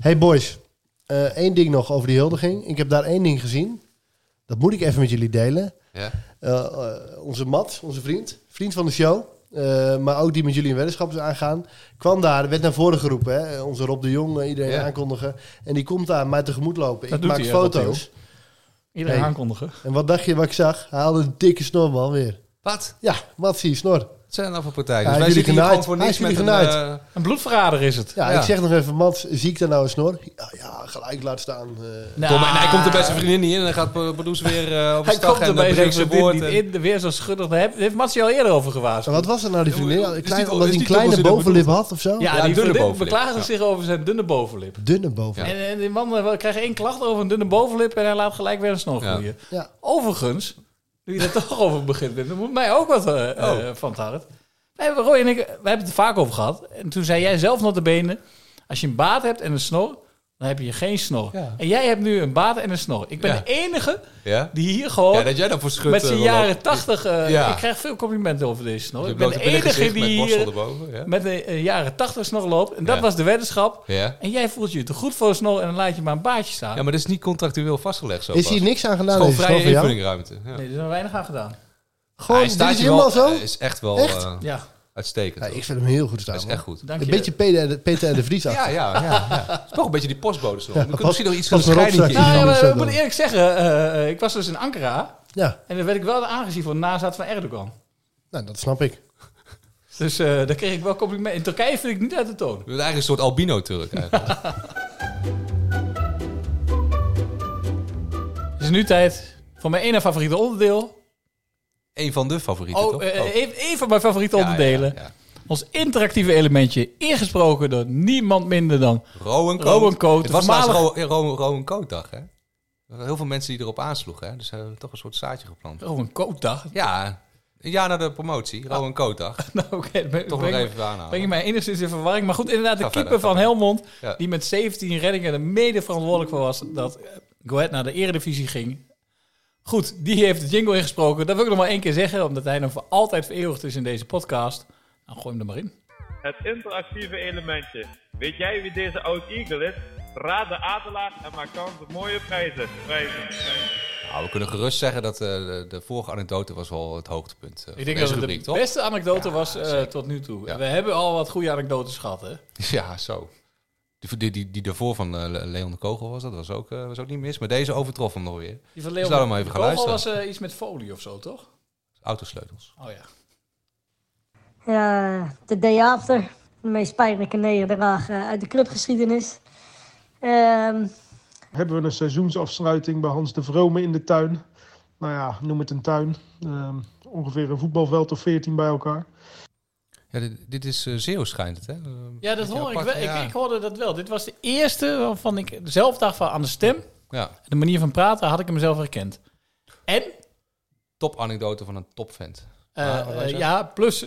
[SPEAKER 15] Hey boys, Eh één ding nog over die huldiging. Ik heb daar één ding gezien. Dat moet ik even met jullie delen.
[SPEAKER 9] Ja.
[SPEAKER 15] Eh, eh, onze Matt, onze vriend, vriend van de show, eh, maar ook die met jullie in weddenschap is aangaan, kwam daar, werd naar voren geroepen. Hè? Onze Rob de Jong, eh, iedereen
[SPEAKER 3] Ja.
[SPEAKER 15] aankondigen. En die komt daar mij tegemoet lopen.
[SPEAKER 3] Dat
[SPEAKER 15] ik
[SPEAKER 3] doet
[SPEAKER 15] maak
[SPEAKER 3] hij, hè, Rob de
[SPEAKER 15] foto's.
[SPEAKER 3] Jong. Iedereen aankondigen.
[SPEAKER 15] En wat dacht je wat ik zag? Hij had een dikke snorbal weer.
[SPEAKER 9] Wat?
[SPEAKER 15] Ja, wat zie je, snor. Wat
[SPEAKER 9] zijn er nou voor partijen?
[SPEAKER 15] Hij
[SPEAKER 9] Dus wij
[SPEAKER 15] heeft
[SPEAKER 9] zitten
[SPEAKER 15] jullie
[SPEAKER 9] hier gewoon
[SPEAKER 15] genaaid.
[SPEAKER 9] voor niks
[SPEAKER 15] Hij heeft
[SPEAKER 9] met
[SPEAKER 15] jullie
[SPEAKER 9] een...
[SPEAKER 15] genaaid.
[SPEAKER 9] eh,
[SPEAKER 3] Een bloedverrader is het.
[SPEAKER 15] Ja,
[SPEAKER 9] Ja.
[SPEAKER 15] ik zeg nog even, Mats, zie ik daar nou een snor? Ja, ja gelijk laat staan. eh.
[SPEAKER 9] Kom, en hij komt er bij zijn vriendin niet in en dan gaat pro- producer weer eh, op de
[SPEAKER 3] Hij
[SPEAKER 9] stag
[SPEAKER 3] komt erbij
[SPEAKER 9] en dan
[SPEAKER 3] en
[SPEAKER 9] breekt
[SPEAKER 3] zegt
[SPEAKER 9] zijn
[SPEAKER 3] ze dit
[SPEAKER 9] woord.
[SPEAKER 3] niet
[SPEAKER 9] en-
[SPEAKER 3] in. Weer zo schuddig. Daar heb- daar heeft Matsi al eerder over gewaarschuwd.
[SPEAKER 15] Wat was er nou die vriendin? Een klein-
[SPEAKER 9] die-
[SPEAKER 15] omdat
[SPEAKER 9] is
[SPEAKER 15] hij een
[SPEAKER 9] die
[SPEAKER 15] kleine
[SPEAKER 9] dubbelzinnig
[SPEAKER 15] bovenlip
[SPEAKER 9] bedoeld?
[SPEAKER 15] had of zo?
[SPEAKER 9] Ja, die dunne
[SPEAKER 3] vriendin
[SPEAKER 9] bovenlip.
[SPEAKER 3] beklaagde
[SPEAKER 9] Ja.
[SPEAKER 3] zich over zijn dunne bovenlip.
[SPEAKER 15] Dunne bovenlip.
[SPEAKER 3] En, en die man eh, krijgt één klacht over een dunne bovenlip en hij laat gelijk weer een snor groeien.
[SPEAKER 15] Ja.
[SPEAKER 3] Overigens, nu je er toch over begint, dan moet mij ook wat eh,
[SPEAKER 9] Oh.
[SPEAKER 3] eh, van het hart. Wij hebben, Roy en ik, wij hebben het er vaak over gehad. En toen zei jij zelf nog de benen, als je een baard hebt en een snor, dan heb je geen snor.
[SPEAKER 9] Ja.
[SPEAKER 3] En jij hebt nu een baard en een snor. Ik ben
[SPEAKER 9] Ja.
[SPEAKER 3] de enige
[SPEAKER 9] Ja?
[SPEAKER 3] die hier gewoon
[SPEAKER 9] Ja, dat jij daarvoor schudt,
[SPEAKER 3] met zijn
[SPEAKER 9] eh, wel op.
[SPEAKER 3] jaren tachtig... eh,
[SPEAKER 9] Ja.
[SPEAKER 3] Ik krijg veel complimenten over deze snor.
[SPEAKER 9] Dus
[SPEAKER 3] ik
[SPEAKER 9] je
[SPEAKER 3] ben de
[SPEAKER 9] blote billen
[SPEAKER 3] enige
[SPEAKER 9] gezicht
[SPEAKER 3] die
[SPEAKER 9] met borstel
[SPEAKER 3] hier
[SPEAKER 9] erboven, ja.
[SPEAKER 3] met een eh, jaren tachtig snor loopt. En dat
[SPEAKER 9] Ja.
[SPEAKER 3] was de weddenschap.
[SPEAKER 9] Ja.
[SPEAKER 3] En jij voelt je te goed voor een snor en dan laat je maar een baardje staan.
[SPEAKER 9] Ja, maar dat is niet contractueel vastgelegd zo
[SPEAKER 15] Is
[SPEAKER 9] pas.
[SPEAKER 15] hier niks aan gedaan,
[SPEAKER 9] Het is
[SPEAKER 15] deze
[SPEAKER 9] gewoon vrije
[SPEAKER 15] snor van
[SPEAKER 9] invulling ruimte.
[SPEAKER 3] Nee, er is nog weinig aan gedaan.
[SPEAKER 15] Gewoon,
[SPEAKER 9] Hij
[SPEAKER 15] dit
[SPEAKER 9] staat
[SPEAKER 15] is
[SPEAKER 9] hier wel-
[SPEAKER 15] helemaal zo?
[SPEAKER 9] eh, is echt wel
[SPEAKER 15] Echt?
[SPEAKER 9] eh,
[SPEAKER 3] Ja.
[SPEAKER 9] uitstekend.
[SPEAKER 15] Ja, ik vind hem heel goed staan.
[SPEAKER 9] Dat is
[SPEAKER 15] hoor.
[SPEAKER 9] echt goed.
[SPEAKER 15] een beetje Peter, en- Peter en de Vries
[SPEAKER 9] Ja,
[SPEAKER 15] achter.
[SPEAKER 9] ja, ja. Het is toch een beetje die postbode snor.
[SPEAKER 15] Ja,
[SPEAKER 9] We kunnen
[SPEAKER 15] pas-
[SPEAKER 9] misschien nog iets van
[SPEAKER 15] pas
[SPEAKER 9] een
[SPEAKER 15] maar op,
[SPEAKER 9] schrijnetje.
[SPEAKER 15] zeg.
[SPEAKER 3] Nou, ja, maar
[SPEAKER 15] Amsterdam.
[SPEAKER 3] ik moet eerlijk zeggen, eh, eh, ik was dus in Ankara.
[SPEAKER 15] Ja.
[SPEAKER 3] En dan werd ik wel aangezien voor een nazaat van Erdogan.
[SPEAKER 15] Nou, dat snap ik.
[SPEAKER 3] Dus eh, daar kreeg ik wel complimenten. In Turkije vind ik niet uit de toon.
[SPEAKER 9] Je bent eigenlijk een soort albino-Turk eigenlijk.
[SPEAKER 3] Het is nu tijd voor mijn ene favoriete onderdeel.
[SPEAKER 9] Eén van de favorieten,
[SPEAKER 3] Oh,
[SPEAKER 9] toch?
[SPEAKER 3] eh,
[SPEAKER 9] Oh.
[SPEAKER 3] Een, een van mijn favoriete
[SPEAKER 9] Ja,
[SPEAKER 3] onderdelen.
[SPEAKER 9] ja, ja.
[SPEAKER 3] Ons interactieve elementje, ingesproken door niemand minder dan
[SPEAKER 9] Rowan Coat.
[SPEAKER 3] Rowan Coat,
[SPEAKER 9] Het
[SPEAKER 3] de
[SPEAKER 9] was laatst
[SPEAKER 3] voormalige-
[SPEAKER 9] Ro- eh, Rowan, Rowan Coat dag, hè? Er waren heel veel mensen die erop aansloegen, hè? Dus ze hebben toch een soort zaadje geplant.
[SPEAKER 3] Rowan Coat dag?
[SPEAKER 9] Ja, een jaar na de promotie. Rowan Coat dag.
[SPEAKER 3] Nou, oké. dan ben-
[SPEAKER 9] Toch
[SPEAKER 3] breng
[SPEAKER 9] nog
[SPEAKER 3] ik-
[SPEAKER 9] even aanhalen.
[SPEAKER 3] Breng je mij enigszins in verwarring. Maar goed, inderdaad, de
[SPEAKER 9] Ga verder,
[SPEAKER 3] keeper
[SPEAKER 9] ga
[SPEAKER 3] van Helmond,
[SPEAKER 9] Ja.
[SPEAKER 3] die met 17 reddingen er mede verantwoordelijk voor was dat eh, Go Ahead naar de eredivisie ging. Goed, die heeft de jingle ingesproken. Dat wil ik nog maar één keer zeggen, omdat hij dan voor altijd vereeuwigd is in deze podcast. Nou, gooi hem er maar in.
[SPEAKER 1] Het interactieve elementje. Weet jij wie deze oud-eagle is? Raad de adelaar en maak kans op mooie prijzen. Prijzen.
[SPEAKER 9] Nou, we kunnen gerust zeggen dat eh, de, de vorige anekdote was wel het hoogtepunt. eh, van
[SPEAKER 3] Ik denk dat
[SPEAKER 9] deze
[SPEAKER 3] het
[SPEAKER 9] rubriek,
[SPEAKER 3] de
[SPEAKER 9] toch?
[SPEAKER 3] beste anekdote was eh, tot nu toe. We hebben al wat goede anekdotes gehad, hè?
[SPEAKER 9] Ja, zo. Die, die, die, die daarvoor van eh, Le- Leon de Kogel was, dat was ook, eh, was ook niet mis. Maar deze overtrof hem nog weer.
[SPEAKER 3] Die van
[SPEAKER 9] Dus
[SPEAKER 3] Leon
[SPEAKER 9] laten we maar even
[SPEAKER 3] de
[SPEAKER 9] gaan
[SPEAKER 3] Kogel
[SPEAKER 9] luisteren.
[SPEAKER 3] was eh, iets met folie of zo, toch?
[SPEAKER 9] Autosleutels.
[SPEAKER 3] Oh ja.
[SPEAKER 4] Uh, the day after. De meest pijnlijke nederlaag eh, uit de clubgeschiedenis. Ehm,
[SPEAKER 22] Hebben we een seizoensafsluiting bij Hans de Vrome in de tuin. Nou ja, noem het een tuin. Ehm, ongeveer een voetbalveld of 14 bij elkaar.
[SPEAKER 9] Ja, dit, dit is eh Zeeuws schijnt het, hè? Eh,
[SPEAKER 3] Ja, dat
[SPEAKER 9] beetje
[SPEAKER 3] hoor ik
[SPEAKER 9] apart,
[SPEAKER 3] wel. Ik-
[SPEAKER 9] ja.
[SPEAKER 3] Ik, hoorde dat wel. Dit was de eerste waarvan ik zelf dacht van aan de stem.
[SPEAKER 9] Ja.
[SPEAKER 3] De manier van praten had ik hem zelf herkend. En?
[SPEAKER 9] Top anekdote van een topvent.
[SPEAKER 3] Eh,
[SPEAKER 9] Maar wat was
[SPEAKER 3] eh,
[SPEAKER 9] het?
[SPEAKER 3] ja, plus...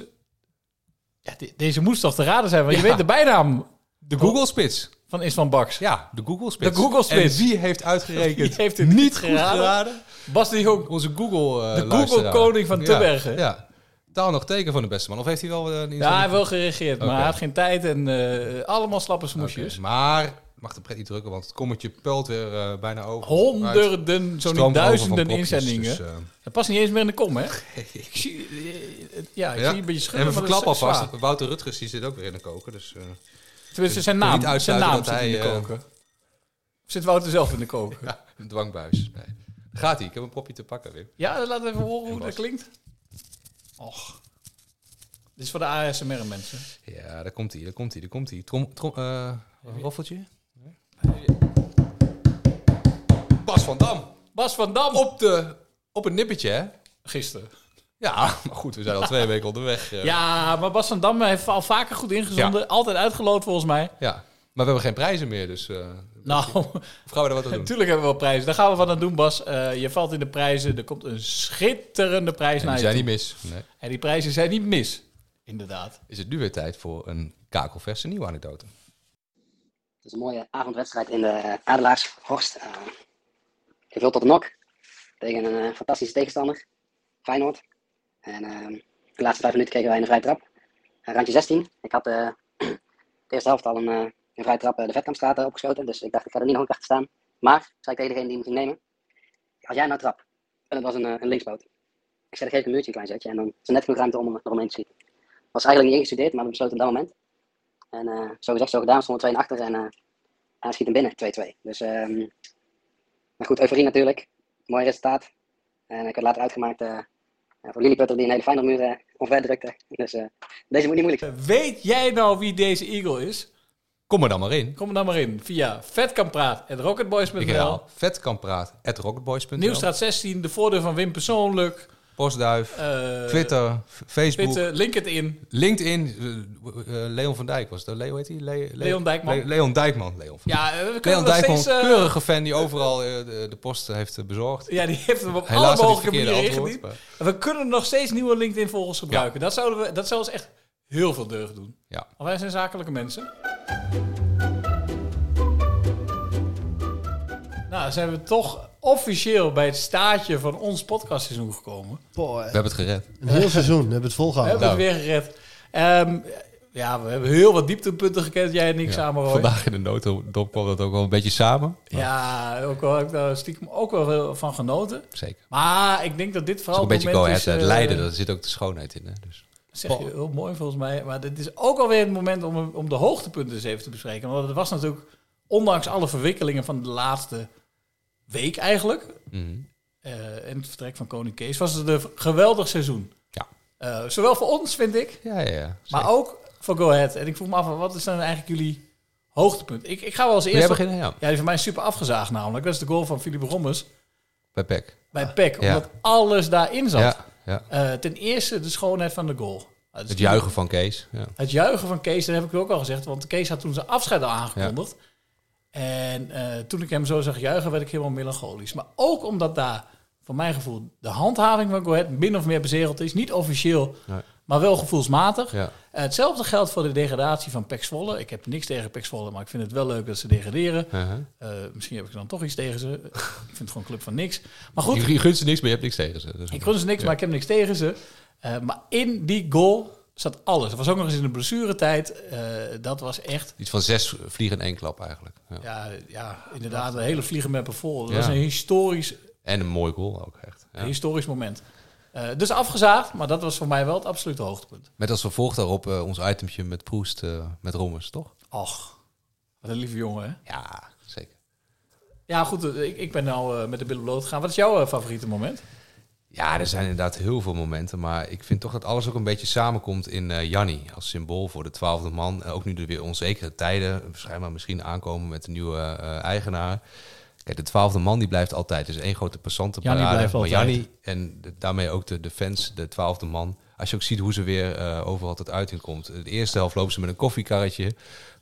[SPEAKER 3] Ja, de- deze moest toch te raden zijn, want je
[SPEAKER 9] Ja.
[SPEAKER 3] weet de bijnaam. Oh,
[SPEAKER 9] De Google-spits.
[SPEAKER 3] Van Isvan Baks.
[SPEAKER 9] Ja, de Google-spits.
[SPEAKER 3] De Google-spits.
[SPEAKER 9] En die heeft uitgerekend.
[SPEAKER 3] Die heeft het niet geraden. Bas de Jong.
[SPEAKER 9] Onze Google eh,
[SPEAKER 3] De
[SPEAKER 9] luisteraar.
[SPEAKER 3] Google-koning van Tubbergen.
[SPEAKER 9] Ja, ja. Taal nog teken van de beste man. Of heeft hij wel... eh, een
[SPEAKER 3] Ja, hij heeft wel
[SPEAKER 9] inzending?
[SPEAKER 3] gereageerd, maar
[SPEAKER 9] Oké.
[SPEAKER 3] hij had geen tijd en eh, allemaal slappe smoesjes.
[SPEAKER 9] Oké, Maar ik mag de pret niet drukken, want het kommetje pelt weer eh, bijna over.
[SPEAKER 3] Honderden, zo
[SPEAKER 9] Stroomt
[SPEAKER 3] niet
[SPEAKER 9] over van
[SPEAKER 3] duizenden
[SPEAKER 9] propjes,
[SPEAKER 3] inzendingen.
[SPEAKER 9] dus, eh,
[SPEAKER 3] Dat past niet eens meer in de kom, hè? Ik zie, eh, ja, ik
[SPEAKER 9] ja.
[SPEAKER 3] zie een beetje schudden.
[SPEAKER 9] En we
[SPEAKER 3] maar dat is
[SPEAKER 9] verklappen
[SPEAKER 3] zwaar.
[SPEAKER 9] alvast. Wouter Rutgers die zit ook weer in de koker. Dus, eh,
[SPEAKER 3] Tenminste,
[SPEAKER 9] dus
[SPEAKER 3] zijn
[SPEAKER 9] ik wil
[SPEAKER 3] naam.
[SPEAKER 9] niet
[SPEAKER 3] zijn
[SPEAKER 9] uitsluiten
[SPEAKER 3] naam
[SPEAKER 9] dat
[SPEAKER 3] zit in de
[SPEAKER 9] hij, eh,
[SPEAKER 3] koker. Of zit Wouter zelf in de koker?
[SPEAKER 9] ja, een dwangbuis. Nee. Gaat hij? Ik heb een propje te pakken, Wim.
[SPEAKER 3] Ja, dan laten we even horen hoe dat klinkt. Och. Dit is voor de ASMR mensen.
[SPEAKER 9] Ja, daar komt hij, daar komt hij, daar komt hij. Trom, trom, eh, roffeltje? Bas van Dam.
[SPEAKER 3] Bas van Dam.
[SPEAKER 9] Op, de, op het nippertje, hè?
[SPEAKER 3] Gisteren.
[SPEAKER 9] Ja, maar goed, we zijn al twee weken onderweg. eh.
[SPEAKER 3] Ja, maar Bas van Dam heeft al vaker goed ingezonden. Altijd uitgeloot volgens mij.
[SPEAKER 9] ja. Maar we hebben geen prijzen meer, dus eh, we
[SPEAKER 3] Nou,
[SPEAKER 9] Of gaan we er wat aan doen?
[SPEAKER 3] natuurlijk hebben we wel prijzen. Daar gaan we wat aan doen, Bas. Eh, je valt in de prijzen. Er komt een schitterende prijs
[SPEAKER 9] En
[SPEAKER 3] naar
[SPEAKER 9] die
[SPEAKER 3] je
[SPEAKER 9] zijn
[SPEAKER 3] toe.
[SPEAKER 9] niet mis. Nee.
[SPEAKER 3] En die prijzen zijn niet mis. Inderdaad.
[SPEAKER 9] Is het nu weer tijd voor een kakelverse nieuwe anekdote?
[SPEAKER 5] Het is een mooie avondwedstrijd in de Adelaarshorst. Eh, gevuld tot de nok. Tegen een eh, fantastische tegenstander. Feyenoord. En ehm, de laatste vijf minuten kregen wij een vrije trap. Eh, randje 16. Ik had eh, de eerste helft al een, eh, een vrije trap eh, de Vetkampstraat eh, opgeschoten. Dus ik dacht, ik ga er niet nog een keer achter staan. Maar, zei ik tegen degene die hem ging nemen. Als jij nou trap. En het was een, eh, een linksboot. Ik zei, dan geef ik een muurtje een klein zetje. En dan is er net genoeg ruimte om hem eromheen te schieten. Was eigenlijk niet ingestudeerd, maar we besloten op dat moment. En eh, zo gezegd, zo gedaan. We stonden 2 achter. En eh, en hij schiet hem binnen, 2-2. Dus, ehm, maar goed, euforie natuurlijk. Mooi resultaat. En ik had later uitgemaakt eh, voor Lilliputter die een hele fijne muur eh, omver drukte. Dus eh, deze moet niet moeilijk zijn.
[SPEAKER 3] Weet jij nou wie deze Eagle is?
[SPEAKER 9] Kom er dan maar in.
[SPEAKER 3] Kom er dan maar in via vetkampraat.rocketboys.nl.
[SPEAKER 9] Ik herhaal, vetkampraat.rocketboys.nl
[SPEAKER 3] Nieuwstraat 16, de voordeur van Wim persoonlijk.
[SPEAKER 9] Postduif,
[SPEAKER 3] Eh,
[SPEAKER 9] Twitter, Facebook,
[SPEAKER 3] Twitter, LinkedIn.
[SPEAKER 9] LinkedIn, eh, eh, Leon van Dijk was dat. Leo heet hij? Le- Le-
[SPEAKER 3] Leon Dijkman.
[SPEAKER 9] Le- Leon Dijkman. Leon, van
[SPEAKER 3] Ja, eh, we kunnen
[SPEAKER 9] Leon
[SPEAKER 3] nog
[SPEAKER 9] Dijkman,
[SPEAKER 3] steeds, eh,
[SPEAKER 9] keurige fan die overal eh, de, de post heeft eh, bezorgd.
[SPEAKER 3] Ja, die heeft hem op
[SPEAKER 9] Helaas had
[SPEAKER 3] alle
[SPEAKER 9] hij
[SPEAKER 3] mogelijke
[SPEAKER 9] het
[SPEAKER 3] manieren
[SPEAKER 9] verkeerde
[SPEAKER 3] ingediend.
[SPEAKER 9] antwoord,
[SPEAKER 3] We kunnen nog steeds nieuwe LinkedIn-volgers gebruiken. Dat, zouden we, dat zou ons echt heel veel deugd doen.
[SPEAKER 9] Ja.
[SPEAKER 3] Want wij zijn zakelijke mensen. Nou, dan zijn we toch officieel bij het staartje van ons podcastseizoen gekomen.
[SPEAKER 15] Boy.
[SPEAKER 9] We hebben het gered.
[SPEAKER 15] Een heel seizoen, we hebben het volgehouden.
[SPEAKER 3] We
[SPEAKER 9] Nou.
[SPEAKER 3] hebben het weer gered. Ehm, ja, we hebben heel wat dieptepunten gekend. Jij en ik samen, Roy.
[SPEAKER 9] Vandaag in de notendop kwam dat ook wel een beetje samen.
[SPEAKER 3] Ja, ook wel, heb ik daar stiekem ook wel heel van genoten.
[SPEAKER 9] Zeker.
[SPEAKER 3] Maar ik denk dat dit
[SPEAKER 9] Het is
[SPEAKER 3] vooral
[SPEAKER 9] ook een beetje
[SPEAKER 3] het
[SPEAKER 9] go
[SPEAKER 3] moment
[SPEAKER 9] ahead.
[SPEAKER 3] is... eh,
[SPEAKER 9] Leiden, daar zit ook de schoonheid in. Hè? Dus.
[SPEAKER 3] zeg je heel mooi volgens mij. Maar dit is ook alweer het moment om, om de hoogtepunten eens even te bespreken. Want het was natuurlijk, ondanks alle verwikkelingen van de laatste week eigenlijk...
[SPEAKER 9] Mhm.
[SPEAKER 3] eh, en het vertrek van Koning Kees, was het een geweldig seizoen.
[SPEAKER 9] Ja.
[SPEAKER 3] Eh, zowel voor ons, vind ik,
[SPEAKER 9] Ja, ja, ja.
[SPEAKER 3] maar ook voor Go Ahead. En ik vroeg me af, wat is dan eigenlijk jullie hoogtepunt? Ik, ik ga wel als
[SPEAKER 9] Wil
[SPEAKER 3] eerste...
[SPEAKER 9] jij beginnen? Ja.
[SPEAKER 3] die is voor mij super afgezaagd namelijk. Dat is de goal van Philippe Rommers
[SPEAKER 9] Bij Peck.
[SPEAKER 3] bij PEC.
[SPEAKER 9] Ah, Ja.
[SPEAKER 3] Omdat alles daarin zat.
[SPEAKER 9] Ja, ja.
[SPEAKER 3] Eh, ten eerste de schoonheid van de goal. Het,
[SPEAKER 9] Het juichen van Kees. Ja.
[SPEAKER 3] Het juichen van Kees, dat heb ik ook al gezegd. Want Kees had toen zijn afscheid al aangekondigd. En eh, toen ik hem zo zag juichen, werd ik helemaal melancholisch. Maar ook omdat daar, voor mijn gevoel, de handhaving van Go Ahead min of meer bezegeld is. Niet officieel,
[SPEAKER 9] Nee.
[SPEAKER 3] maar wel gevoelsmatig.
[SPEAKER 9] Ja.
[SPEAKER 3] Eh, hetzelfde geldt voor de degradatie van Pek Zwolle. Ik heb niks tegen Pek Zwolle, maar ik vind het wel leuk dat ze degraderen.
[SPEAKER 9] Uh-huh.
[SPEAKER 3] Eh, misschien heb ik dan toch iets tegen ze. ik vind het gewoon een club van niks. Maar goed,
[SPEAKER 9] Je, je gunt ze niks, maar je hebt niks tegen ze. Dus
[SPEAKER 3] ik gun ze niks,
[SPEAKER 9] Ja.
[SPEAKER 3] maar ik heb niks tegen ze. Eh, maar in die goal zat alles. Dat was ook nog eens in de blessuretijd. Eh dat was echt,
[SPEAKER 9] Iets van zes vliegen in één klap eigenlijk. Ja.
[SPEAKER 3] ja, ja inderdaad, een hele vliegen met een vol. Dat
[SPEAKER 9] Ja.
[SPEAKER 3] was een historisch,
[SPEAKER 9] En een mooi goal ook echt.
[SPEAKER 3] een
[SPEAKER 9] Ja.
[SPEAKER 3] historisch moment. Eh, dus afgezaagd, maar dat was voor mij wel het absolute hoogtepunt.
[SPEAKER 9] Met als vervolg daarop eh, ons itemtje met Proest, eh, met Rommers, toch?
[SPEAKER 3] Och, wat een lieve jongen, hè?
[SPEAKER 9] Ja, zeker.
[SPEAKER 3] Ja, goed, eh, ik, ik ben nou eh, met de billen bloot gegaan. Wat is jouw eh, favoriete moment?
[SPEAKER 9] Ja, er zijn inderdaad heel veel momenten. Maar ik vind toch dat alles ook een beetje samenkomt in eh Janni. Als symbool voor de twaalfde man. Eh, ook nu er weer onzekere tijden schijnbaar misschien aankomen met de nieuwe eh, eigenaar. Kijk, de twaalfde man die blijft altijd. Dus één grote passante
[SPEAKER 3] Janni
[SPEAKER 9] parade.
[SPEAKER 3] blijft
[SPEAKER 9] Maar
[SPEAKER 3] altijd.
[SPEAKER 9] Janni en de- daarmee ook de, de fans, de twaalfde man. Als je ook ziet hoe ze weer eh, overal tot uiting komt. De eerste helft lopen ze met een koffiekarretje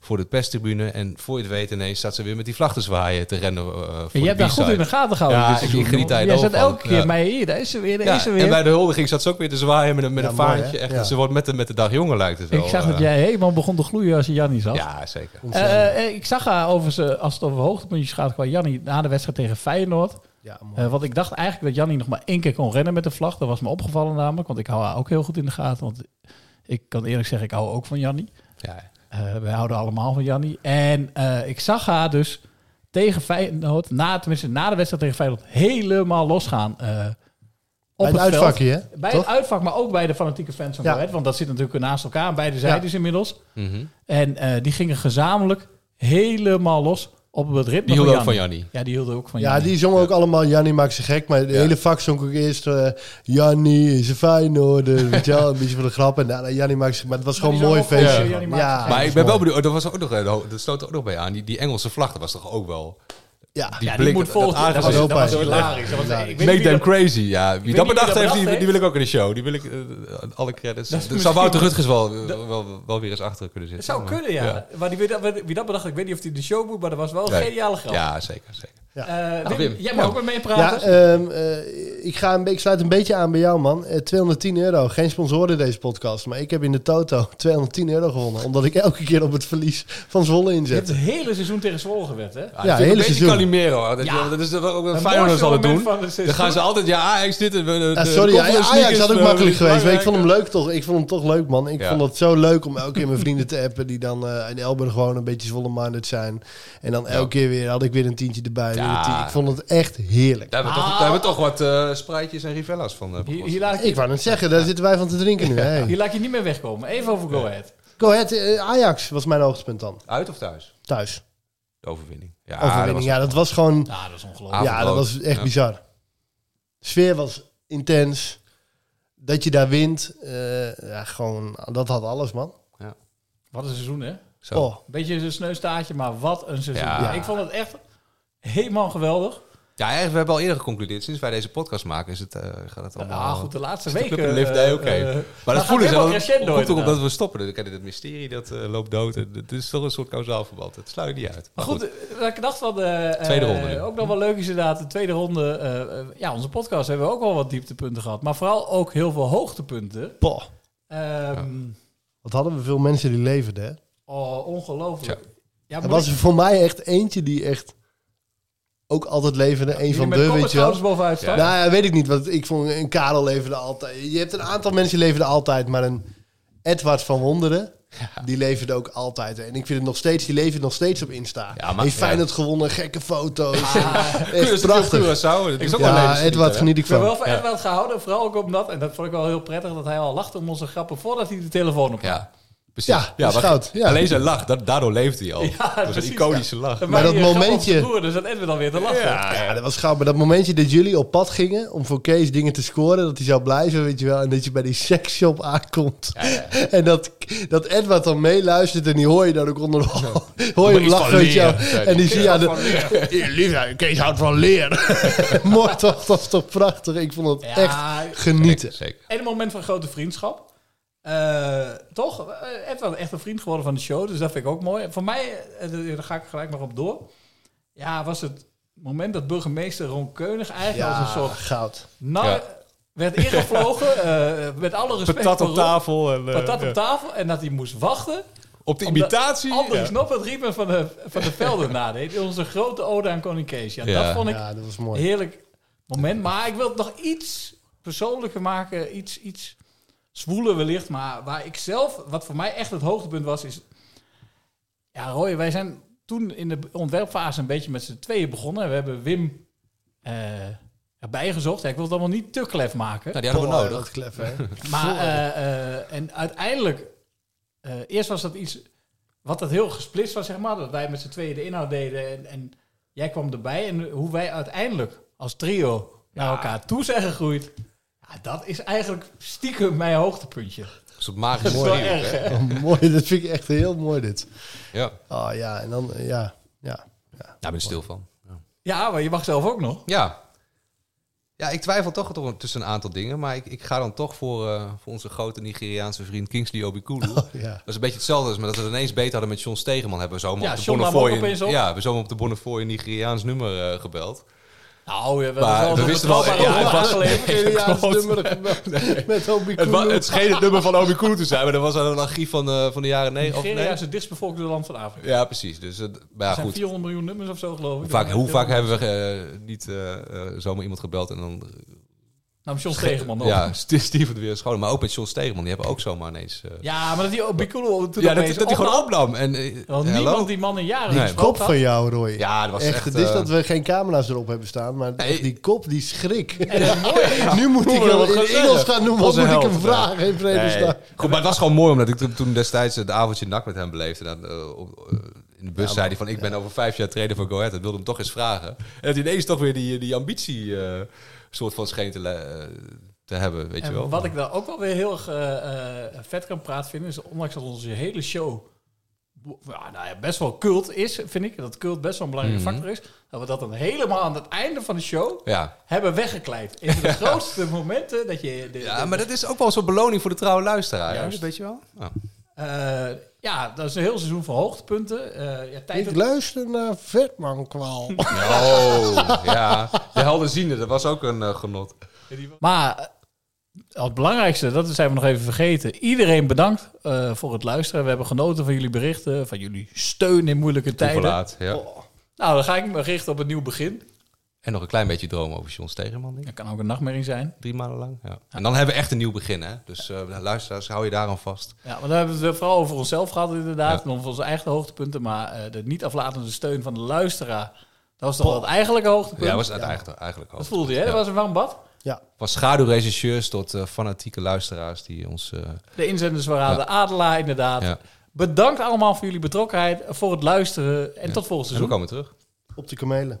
[SPEAKER 9] voor de pestribune. En voor je het weet ineens staat ze weer met die vlag te zwaaien te rennen eh, voor
[SPEAKER 3] Je
[SPEAKER 9] de
[SPEAKER 3] hebt daar goed
[SPEAKER 9] B-side.
[SPEAKER 3] in de gaten gehouden.
[SPEAKER 9] Ja,
[SPEAKER 3] dit
[SPEAKER 9] ik
[SPEAKER 3] seizoen.
[SPEAKER 9] geniet daar
[SPEAKER 3] Jij
[SPEAKER 9] enorm
[SPEAKER 3] zegt
[SPEAKER 9] van.
[SPEAKER 3] elke keer,
[SPEAKER 9] Ja.
[SPEAKER 3] maar hier, daar is ze weer, daar
[SPEAKER 9] Ja,
[SPEAKER 3] is ze weer.
[SPEAKER 9] En bij de huldiging zat ze ook weer te zwaaien met een, met
[SPEAKER 3] Ja,
[SPEAKER 9] een
[SPEAKER 3] mooi,
[SPEAKER 9] vaartje.
[SPEAKER 3] hè?
[SPEAKER 9] Echt,
[SPEAKER 3] Ja.
[SPEAKER 9] Ze wordt met de, met de dag jonger, lijkt het wel.
[SPEAKER 3] ik zag dat
[SPEAKER 9] eh.
[SPEAKER 3] jij helemaal begon te gloeien als je Jannie zat.
[SPEAKER 9] Ja, zeker.
[SPEAKER 3] Eh, eh, ik zag haar overigens, eh, als het over hoogtepuntjes gaat, qua Jannie na de wedstrijd tegen Feyenoord. Eh, want ik dacht eigenlijk dat Jannie nog maar één keer kon rennen met de vlag. Dat was me opgevallen namelijk, want ik hou haar ook heel goed in de gaten. Want ik kan eerlijk zeggen, ik hou ook van Jannie.
[SPEAKER 9] Ja.
[SPEAKER 3] Eh, wij houden allemaal van Jannie. En eh, ik zag haar dus tegen Feyenoord, na, tenminste na de wedstrijd tegen Feyenoord, helemaal losgaan. eh, op
[SPEAKER 15] het
[SPEAKER 3] veld.
[SPEAKER 15] uitvakje, hè?
[SPEAKER 3] Bij
[SPEAKER 15] Toch?
[SPEAKER 3] het uitvak, maar ook bij de fanatieke fans van
[SPEAKER 15] Ja.
[SPEAKER 3] ja. Want dat zit natuurlijk naast elkaar aan beide zijdes inmiddels.
[SPEAKER 9] Mhm.
[SPEAKER 3] En eh, die gingen gezamenlijk helemaal los op het ritme
[SPEAKER 9] Die hielden ook
[SPEAKER 3] van
[SPEAKER 9] van
[SPEAKER 3] Jannie.
[SPEAKER 9] Jannie.
[SPEAKER 3] Ja, die hielden ook van
[SPEAKER 15] Ja,
[SPEAKER 3] Jannie.
[SPEAKER 15] die zongen ook allemaal Jannie maakt ze gek. Maar de hele vak zong ook eerst eh Jannie is een Feyenoorder. Weet je wel, een beetje voor de grap. En daarna Jannie maakt ze Maar het was gewoon een mooi feestje. Ja,
[SPEAKER 9] maar ik ben wel benieuwd, oh, dat, was ook nog, eh, dat sloot er ook nog bij aan. Die, die Engelse vlag, dat was toch ook wel...
[SPEAKER 15] Ja,
[SPEAKER 9] die blik,
[SPEAKER 15] moet
[SPEAKER 9] dat-
[SPEAKER 15] volgen.
[SPEAKER 9] dat
[SPEAKER 15] Dat was-
[SPEAKER 9] aangezet,
[SPEAKER 15] dat was
[SPEAKER 9] echt
[SPEAKER 15] hilarisch. Dat was- ik weet niet
[SPEAKER 9] Make
[SPEAKER 15] wie
[SPEAKER 9] them
[SPEAKER 15] dat-
[SPEAKER 9] crazy, ja. Wie
[SPEAKER 15] weet
[SPEAKER 9] dat bedacht
[SPEAKER 15] niet wie dat
[SPEAKER 9] heeft, die,
[SPEAKER 15] bedacht
[SPEAKER 9] die wil ik ook in de show. Die wil ik, eh, alle credits.
[SPEAKER 3] Dat
[SPEAKER 9] Dat
[SPEAKER 3] is
[SPEAKER 9] zou
[SPEAKER 3] misschien-
[SPEAKER 9] Wouter Rutgers wel,
[SPEAKER 3] Dat-
[SPEAKER 9] wel, wel, wel weer eens achter kunnen
[SPEAKER 3] Het
[SPEAKER 9] zitten.
[SPEAKER 3] zou
[SPEAKER 9] maar-
[SPEAKER 3] kunnen, ja. Maar die, wie, dat, wie dat bedacht, ik weet niet of hij de show moet, maar dat was wel een
[SPEAKER 9] Nee.
[SPEAKER 3] geniale grap.
[SPEAKER 9] Ja, zeker, zeker.
[SPEAKER 3] Ja. Wim,
[SPEAKER 9] Nou, Wim.
[SPEAKER 3] jij mag
[SPEAKER 9] Ja.
[SPEAKER 3] ook met mee
[SPEAKER 15] Ja,
[SPEAKER 3] praten.
[SPEAKER 15] ehm, eh, ik, ga een, be- ik sluit een beetje aan bij jou, man. Eh, 210 euro. Geen sponsoren deze podcast. Maar ik heb in de toto 210 euro gewonnen. Omdat ik elke keer op het verlies van Zwolle
[SPEAKER 3] je hebt
[SPEAKER 15] inzet.
[SPEAKER 3] het hele seizoen tegen Zwolle gewet, hè?
[SPEAKER 9] Ja,
[SPEAKER 15] hele
[SPEAKER 9] hele een beetje
[SPEAKER 15] seizoen.
[SPEAKER 9] Calimero. Dat,
[SPEAKER 3] Ja.
[SPEAKER 9] dat is wel ook
[SPEAKER 3] Een
[SPEAKER 9] wat Feyenoord altijd
[SPEAKER 3] mooi
[SPEAKER 9] doen.
[SPEAKER 3] moment van het
[SPEAKER 9] Dan gaan ze
[SPEAKER 3] seizoen.
[SPEAKER 9] altijd, ja, Ajax dit. en, eh, de-
[SPEAKER 15] Ja,
[SPEAKER 9] de
[SPEAKER 15] Ah, sorry,
[SPEAKER 9] Conference
[SPEAKER 15] Ajax,
[SPEAKER 9] League is,
[SPEAKER 15] had ook
[SPEAKER 9] eh,
[SPEAKER 15] makkelijk geweest. Maar ik
[SPEAKER 9] belangrijk.
[SPEAKER 15] vond hem leuk toch. Ik vond hem toch leuk, man. Ik
[SPEAKER 9] Ja.
[SPEAKER 15] vond het zo leuk om elke keer mijn vrienden te appen die dan eh, in Elburg gewoon een beetje Zwolle-minded zijn. En dan elke keer weer had ik weer een tientje erbij. weer een tientje. Ik vond het echt heerlijk.
[SPEAKER 9] Daar hebben, we toch, daar hebben we toch wat eh spruitjes en rivella's van. eh,
[SPEAKER 3] Hier, hier laat ik,
[SPEAKER 15] Ik wou net zeggen, daar zitten wij van te drinken nu. Hey.
[SPEAKER 3] hier laat ik je niet meer wegkomen. Even over Go Ahead.
[SPEAKER 15] Go Ahead, eh, Ajax was mijn hoogtepunt dan.
[SPEAKER 9] Uit of thuis?
[SPEAKER 15] Thuis.
[SPEAKER 9] De overwinning. Ja,
[SPEAKER 15] Overwinning. ja, dat was gewoon...
[SPEAKER 3] Ja, Nou, dat is
[SPEAKER 9] ongelooflijk.
[SPEAKER 15] Ja, dat was echt bizar. De sfeer was intens. Dat je daar wint. eh, ja, gewoon... Dat had alles, man.
[SPEAKER 3] Wat een seizoen, hè?
[SPEAKER 15] Zo. Oh.
[SPEAKER 3] Beetje een sneustaartje, maar wat een seizoen.
[SPEAKER 9] Ja.
[SPEAKER 3] Ik vond het echt helemaal geweldig.
[SPEAKER 9] Ja, eigenlijk, we hebben al eerder geconcludeerd. Sinds wij deze podcast maken, is het, eh, gaat het allemaal...
[SPEAKER 3] Ah, goed, de laatste
[SPEAKER 9] is de club
[SPEAKER 3] weken,
[SPEAKER 9] in de lift, nee,
[SPEAKER 3] eh,
[SPEAKER 9] oké.
[SPEAKER 3] eh,
[SPEAKER 9] maar
[SPEAKER 3] maar
[SPEAKER 9] dat
[SPEAKER 3] gaat
[SPEAKER 9] voelen ze
[SPEAKER 3] helemaal
[SPEAKER 9] wel.
[SPEAKER 3] crescendo
[SPEAKER 9] Komt ook
[SPEAKER 3] inderdaad.
[SPEAKER 9] omdat we stoppen. Dus Dan krijg je het mysterie, dat eh, loopt dood. En Het is toch een soort kausaal verband. Het sluit niet uit.
[SPEAKER 3] Maar goed, eh, wat ik dacht van... de
[SPEAKER 9] Tweede ronde nu.
[SPEAKER 3] Ook nog wel leuk is inderdaad, de tweede ronde. eh, eh, ja, onze podcast hebben we ook wel wat dieptepunten gehad. Maar vooral ook heel veel hoogtepunten.
[SPEAKER 15] Poh.
[SPEAKER 3] Ehm,
[SPEAKER 15] Wat hadden we veel mensen die leverden, hè?
[SPEAKER 3] Oh, ongelooflijk. Ja,
[SPEAKER 15] er
[SPEAKER 3] moet
[SPEAKER 15] was
[SPEAKER 3] ik-
[SPEAKER 15] er voor mij echt eentje die echt ook altijd leverde. een
[SPEAKER 3] die er
[SPEAKER 15] van de,
[SPEAKER 3] met
[SPEAKER 15] weet je wel.
[SPEAKER 3] koppers bovenuit stak.
[SPEAKER 15] Nou ja, weet ik niet. Want ik vond een Karel leverde altijd. Je hebt een aantal mensen die leverden altijd. Maar een Edward van Wonderen, die leverde ook altijd. En ik vind het nog steeds, die levert nog steeds op Insta. Ja,
[SPEAKER 9] maar-
[SPEAKER 15] Heeft Feyenoord gewonnen, gekke foto's.
[SPEAKER 9] prachtig.
[SPEAKER 15] echt prachtig.
[SPEAKER 9] Curaçao, dat is ook
[SPEAKER 15] Ja,
[SPEAKER 9] wel levenslied,
[SPEAKER 15] Edward
[SPEAKER 9] hè?
[SPEAKER 15] geniet ik
[SPEAKER 3] Ik ben
[SPEAKER 15] van.
[SPEAKER 3] wel van Edward gehouden, vooral ook omdat, en dat vond ik wel heel prettig, dat hij al lachte om onze grappen voordat hij de telefoon op
[SPEAKER 9] Ja, precies.
[SPEAKER 15] Ja, dat is
[SPEAKER 9] maar
[SPEAKER 15] goud, ja.
[SPEAKER 9] Alleen zijn lach, dat, daardoor leeft hij al.
[SPEAKER 3] Ja,
[SPEAKER 9] dat is
[SPEAKER 3] precies,
[SPEAKER 9] een iconische lach.
[SPEAKER 15] Maar dat momentje-
[SPEAKER 3] Broer, dus dat Edward dan weer te lachen.
[SPEAKER 15] Ja, dat was gaaf. Maar dat momentje dat jullie op pad gingen om voor Kees dingen te scoren, dat hij zou blijven, weet je wel. En dat je bij die seksshop aankomt. En dat, dat Edward dan meeluistert en die hoor je dan ook onder de Hoor je
[SPEAKER 9] Maar
[SPEAKER 15] hem
[SPEAKER 9] iets
[SPEAKER 15] lachen,
[SPEAKER 9] van
[SPEAKER 15] weet je wel.
[SPEAKER 9] leren, zei
[SPEAKER 15] En die
[SPEAKER 9] hij.
[SPEAKER 15] zie je aan de... Lieve, Kees houdt van leer. Mooi toch, dat is toch prachtig. Ik vond het
[SPEAKER 3] Ja,
[SPEAKER 15] echt genieten.
[SPEAKER 3] En een moment van grote vriendschap. Eh, toch? Eh, Edward echt een vriend geworden van de show, dus dat vind ik ook mooi. En Voor mij, eh, eh, daar ga ik gelijk nog op door. Ja, was het moment dat burgemeester Ron Keunig eigenlijk
[SPEAKER 15] Ja,
[SPEAKER 3] als een soort...
[SPEAKER 15] goud.
[SPEAKER 3] Nou,
[SPEAKER 9] Ja.
[SPEAKER 3] werd ingevlogen, eh, met alle respect
[SPEAKER 9] Patat op
[SPEAKER 3] voor Ron.
[SPEAKER 9] tafel en, eh,
[SPEAKER 3] patat op
[SPEAKER 9] ja.
[SPEAKER 3] tafel en dat hij moest wachten...
[SPEAKER 9] Op de
[SPEAKER 3] Omdat
[SPEAKER 9] imitatie.
[SPEAKER 3] Andries
[SPEAKER 9] ja.
[SPEAKER 3] Nop het riemen van de, van de velden nadeed. Onze grote ode aan Koning Kees. Ja,
[SPEAKER 9] Ja.
[SPEAKER 3] dat vond ik
[SPEAKER 15] Ja, dat was
[SPEAKER 3] een
[SPEAKER 15] mooi.
[SPEAKER 3] heerlijk moment. Maar ik wil het nog iets persoonlijker maken. Iets, iets zwoeler wellicht. Maar waar ik zelf, wat voor mij echt het hoogtepunt was, is... Ja, Roy, wij zijn toen in de ontwerpfase een beetje met z'n tweeën begonnen. We hebben Wim eh, erbij gezocht. Ja, ik wil het allemaal niet te klef maken.
[SPEAKER 9] Nou, die hadden we
[SPEAKER 15] Boah,
[SPEAKER 9] nodig.
[SPEAKER 15] Oh, dat klef, hè?
[SPEAKER 3] Maar,
[SPEAKER 15] Voor-
[SPEAKER 3] eh, eh, en uiteindelijk, eh, eerst was dat iets wat dat heel gesplitst was, zeg maar. Dat wij met z'n tweeën de inhoud deden en, en jij kwam erbij. En hoe wij uiteindelijk als trio naar elkaar toe zijn gegroeid. Ja, dat is eigenlijk stiekem mijn hoogtepuntje.
[SPEAKER 9] Dat is op magisch
[SPEAKER 3] Dat is wel erg, hè?
[SPEAKER 15] Oh, mooi, dat vind ik echt heel mooi dit.
[SPEAKER 9] Ja.
[SPEAKER 15] Oh ja, en dan, eh, ja. ja.
[SPEAKER 9] Daar ben ik stil van.
[SPEAKER 3] Ja, maar je mag zelf ook nog.
[SPEAKER 9] Ja. Ja, ik twijfel toch toch tussen een aantal dingen. Maar ik, ik ga dan toch voor, eh, voor onze grote Nigeriaanse vriend Kingsley Obikulu.
[SPEAKER 3] Oh,
[SPEAKER 9] Dat is een beetje hetzelfde als maar dat we het ineens beter hadden met John Stegeman. Hebben we zomaar
[SPEAKER 3] Ja,
[SPEAKER 9] op de
[SPEAKER 3] John nam ook
[SPEAKER 9] Bonnefoy...
[SPEAKER 3] opeens
[SPEAKER 9] een-
[SPEAKER 3] op.
[SPEAKER 9] Ja, we hebben zomaar op de Bonnefoy een Nigeriaans nummer eh, gebeld.
[SPEAKER 3] Nou, ja, we,
[SPEAKER 9] Maar
[SPEAKER 3] hadden
[SPEAKER 9] we wisten wel...
[SPEAKER 3] betrouwbare
[SPEAKER 9] Ja, het
[SPEAKER 3] overheid
[SPEAKER 9] was,
[SPEAKER 3] geleverd.
[SPEAKER 15] Nigeriaans
[SPEAKER 9] klopt.
[SPEAKER 15] nummer gebeld met Obi
[SPEAKER 9] Het, wa-
[SPEAKER 15] Kulu.
[SPEAKER 9] het scheen het nummer van Obikulu te zijn. Maar dat was aan een archief van, eh, van de jaren negen.
[SPEAKER 3] Nigeria
[SPEAKER 9] Nee?
[SPEAKER 3] is het dichtstbevolkte land van Afrika.
[SPEAKER 9] Ja, precies. Dus, eh, maar ja,
[SPEAKER 3] er zijn
[SPEAKER 9] goed.
[SPEAKER 3] 400 miljoen nummers of zo, geloof
[SPEAKER 9] Hoe
[SPEAKER 3] ik.
[SPEAKER 9] vaak, hoe vaak hebben we eh, niet eh, eh, zomaar iemand gebeld en dan...
[SPEAKER 3] Nam Nou, John Stegeman op.
[SPEAKER 9] Ja, St- Steven de Weer Schoon. Maar ook met John Stegeman. Die hebben ook zomaar ineens... eh,
[SPEAKER 3] Ja, maar dat die Obikulo toen
[SPEAKER 9] ja, dat,
[SPEAKER 3] opeens
[SPEAKER 9] dat hij gewoon
[SPEAKER 3] opnam.
[SPEAKER 9] opnam. En, eh,
[SPEAKER 3] Want
[SPEAKER 9] hello?
[SPEAKER 3] niemand die man in jaren
[SPEAKER 9] Nee.
[SPEAKER 15] Die kop van jou, Roy.
[SPEAKER 9] Ja, dat was echt...
[SPEAKER 15] het is
[SPEAKER 9] eh,
[SPEAKER 15] dat we geen camera's erop hebben staan, maar echt die kop, die schrik. nu moet
[SPEAKER 9] Hoe
[SPEAKER 15] ik
[SPEAKER 9] we dat
[SPEAKER 15] hem
[SPEAKER 9] gaan
[SPEAKER 15] in
[SPEAKER 9] zeggen.
[SPEAKER 15] Engels gaan noemen, of
[SPEAKER 9] Onze
[SPEAKER 15] moet ik hem
[SPEAKER 9] held, ja.
[SPEAKER 15] vragen in vredesnaam?
[SPEAKER 9] Nee. Goed, maar het was gewoon mooi, omdat ik toen- toen destijds eh, de avondje nak met hem beleefde. En, dan, eh, op- eh, in de bus zei hij van, ik ben over vijf jaar trainer van Go Ahead. Dat wilde hem toch eens vragen. En dat hij ineens toch weer die, die ambitie eh, soort van scheen te, le- eh, te hebben, weet je
[SPEAKER 3] En
[SPEAKER 9] wel.
[SPEAKER 3] Wat ik daar ook wel weer heel erg eh, eh, vet kan praten vinden, is ondanks dat onze hele show ja, nou ja, best wel cult is, vind ik. Dat cult best wel een belangrijke
[SPEAKER 9] Mhm.
[SPEAKER 3] factor is. Dat we dat dan helemaal aan het einde van de show
[SPEAKER 9] Ja.
[SPEAKER 3] hebben weggekleid. In de grootste momenten dat je... de-
[SPEAKER 9] Ja,
[SPEAKER 3] de-
[SPEAKER 9] maar dat is ook wel zo'n beloning voor de trouwe luisteraar. Oh. hè?
[SPEAKER 3] Juist.
[SPEAKER 9] Weet je wel? Ja.
[SPEAKER 3] Eh, ja, dat is een heel seizoen van hoogtepunten. Eh, ja, tijd
[SPEAKER 15] Ik luister naar Vetman kwaal.
[SPEAKER 9] Oh, ja. De helderziende, dat was ook een eh, genot.
[SPEAKER 3] Maar eh, als belangrijkste, dat zijn we nog even vergeten. Iedereen bedankt eh, voor het luisteren. We hebben genoten van jullie berichten, van jullie steun in moeilijke tijden.
[SPEAKER 9] Toeverlaat, ja.
[SPEAKER 3] Oh. Nou, dan ga ik me richten op een nieuw begin.
[SPEAKER 9] En nog een klein beetje dromen over John Stegeman. denk ik.
[SPEAKER 3] Dat kan ook een nachtmerrie zijn.
[SPEAKER 9] Drie maanden lang. Ja. En dan hebben we echt een nieuw begin, hè? Dus eh, luisteraars, hou je daar aan vast.
[SPEAKER 3] Ja, maar dan hebben we het vooral over onszelf gehad inderdaad. En over onze eigen hoogtepunten. Maar eh, de niet aflatende steun van de luisteraar. Dat was toch wel het eigenlijke hoogtepunt?
[SPEAKER 9] Ja, dat was het eigenlijk, eigenlijk
[SPEAKER 3] Dat voelde je, hè? Dat was een warm bad.
[SPEAKER 9] Van schaduwregisseurs tot eh, fanatieke luisteraars die ons... eh,
[SPEAKER 3] De inzenders waren de Adelaar inderdaad.
[SPEAKER 9] Ja.
[SPEAKER 3] Bedankt allemaal voor jullie betrokkenheid, voor het luisteren. En tot volgend
[SPEAKER 9] en we
[SPEAKER 3] seizoen.
[SPEAKER 9] komen terug.
[SPEAKER 15] Op de kamelen.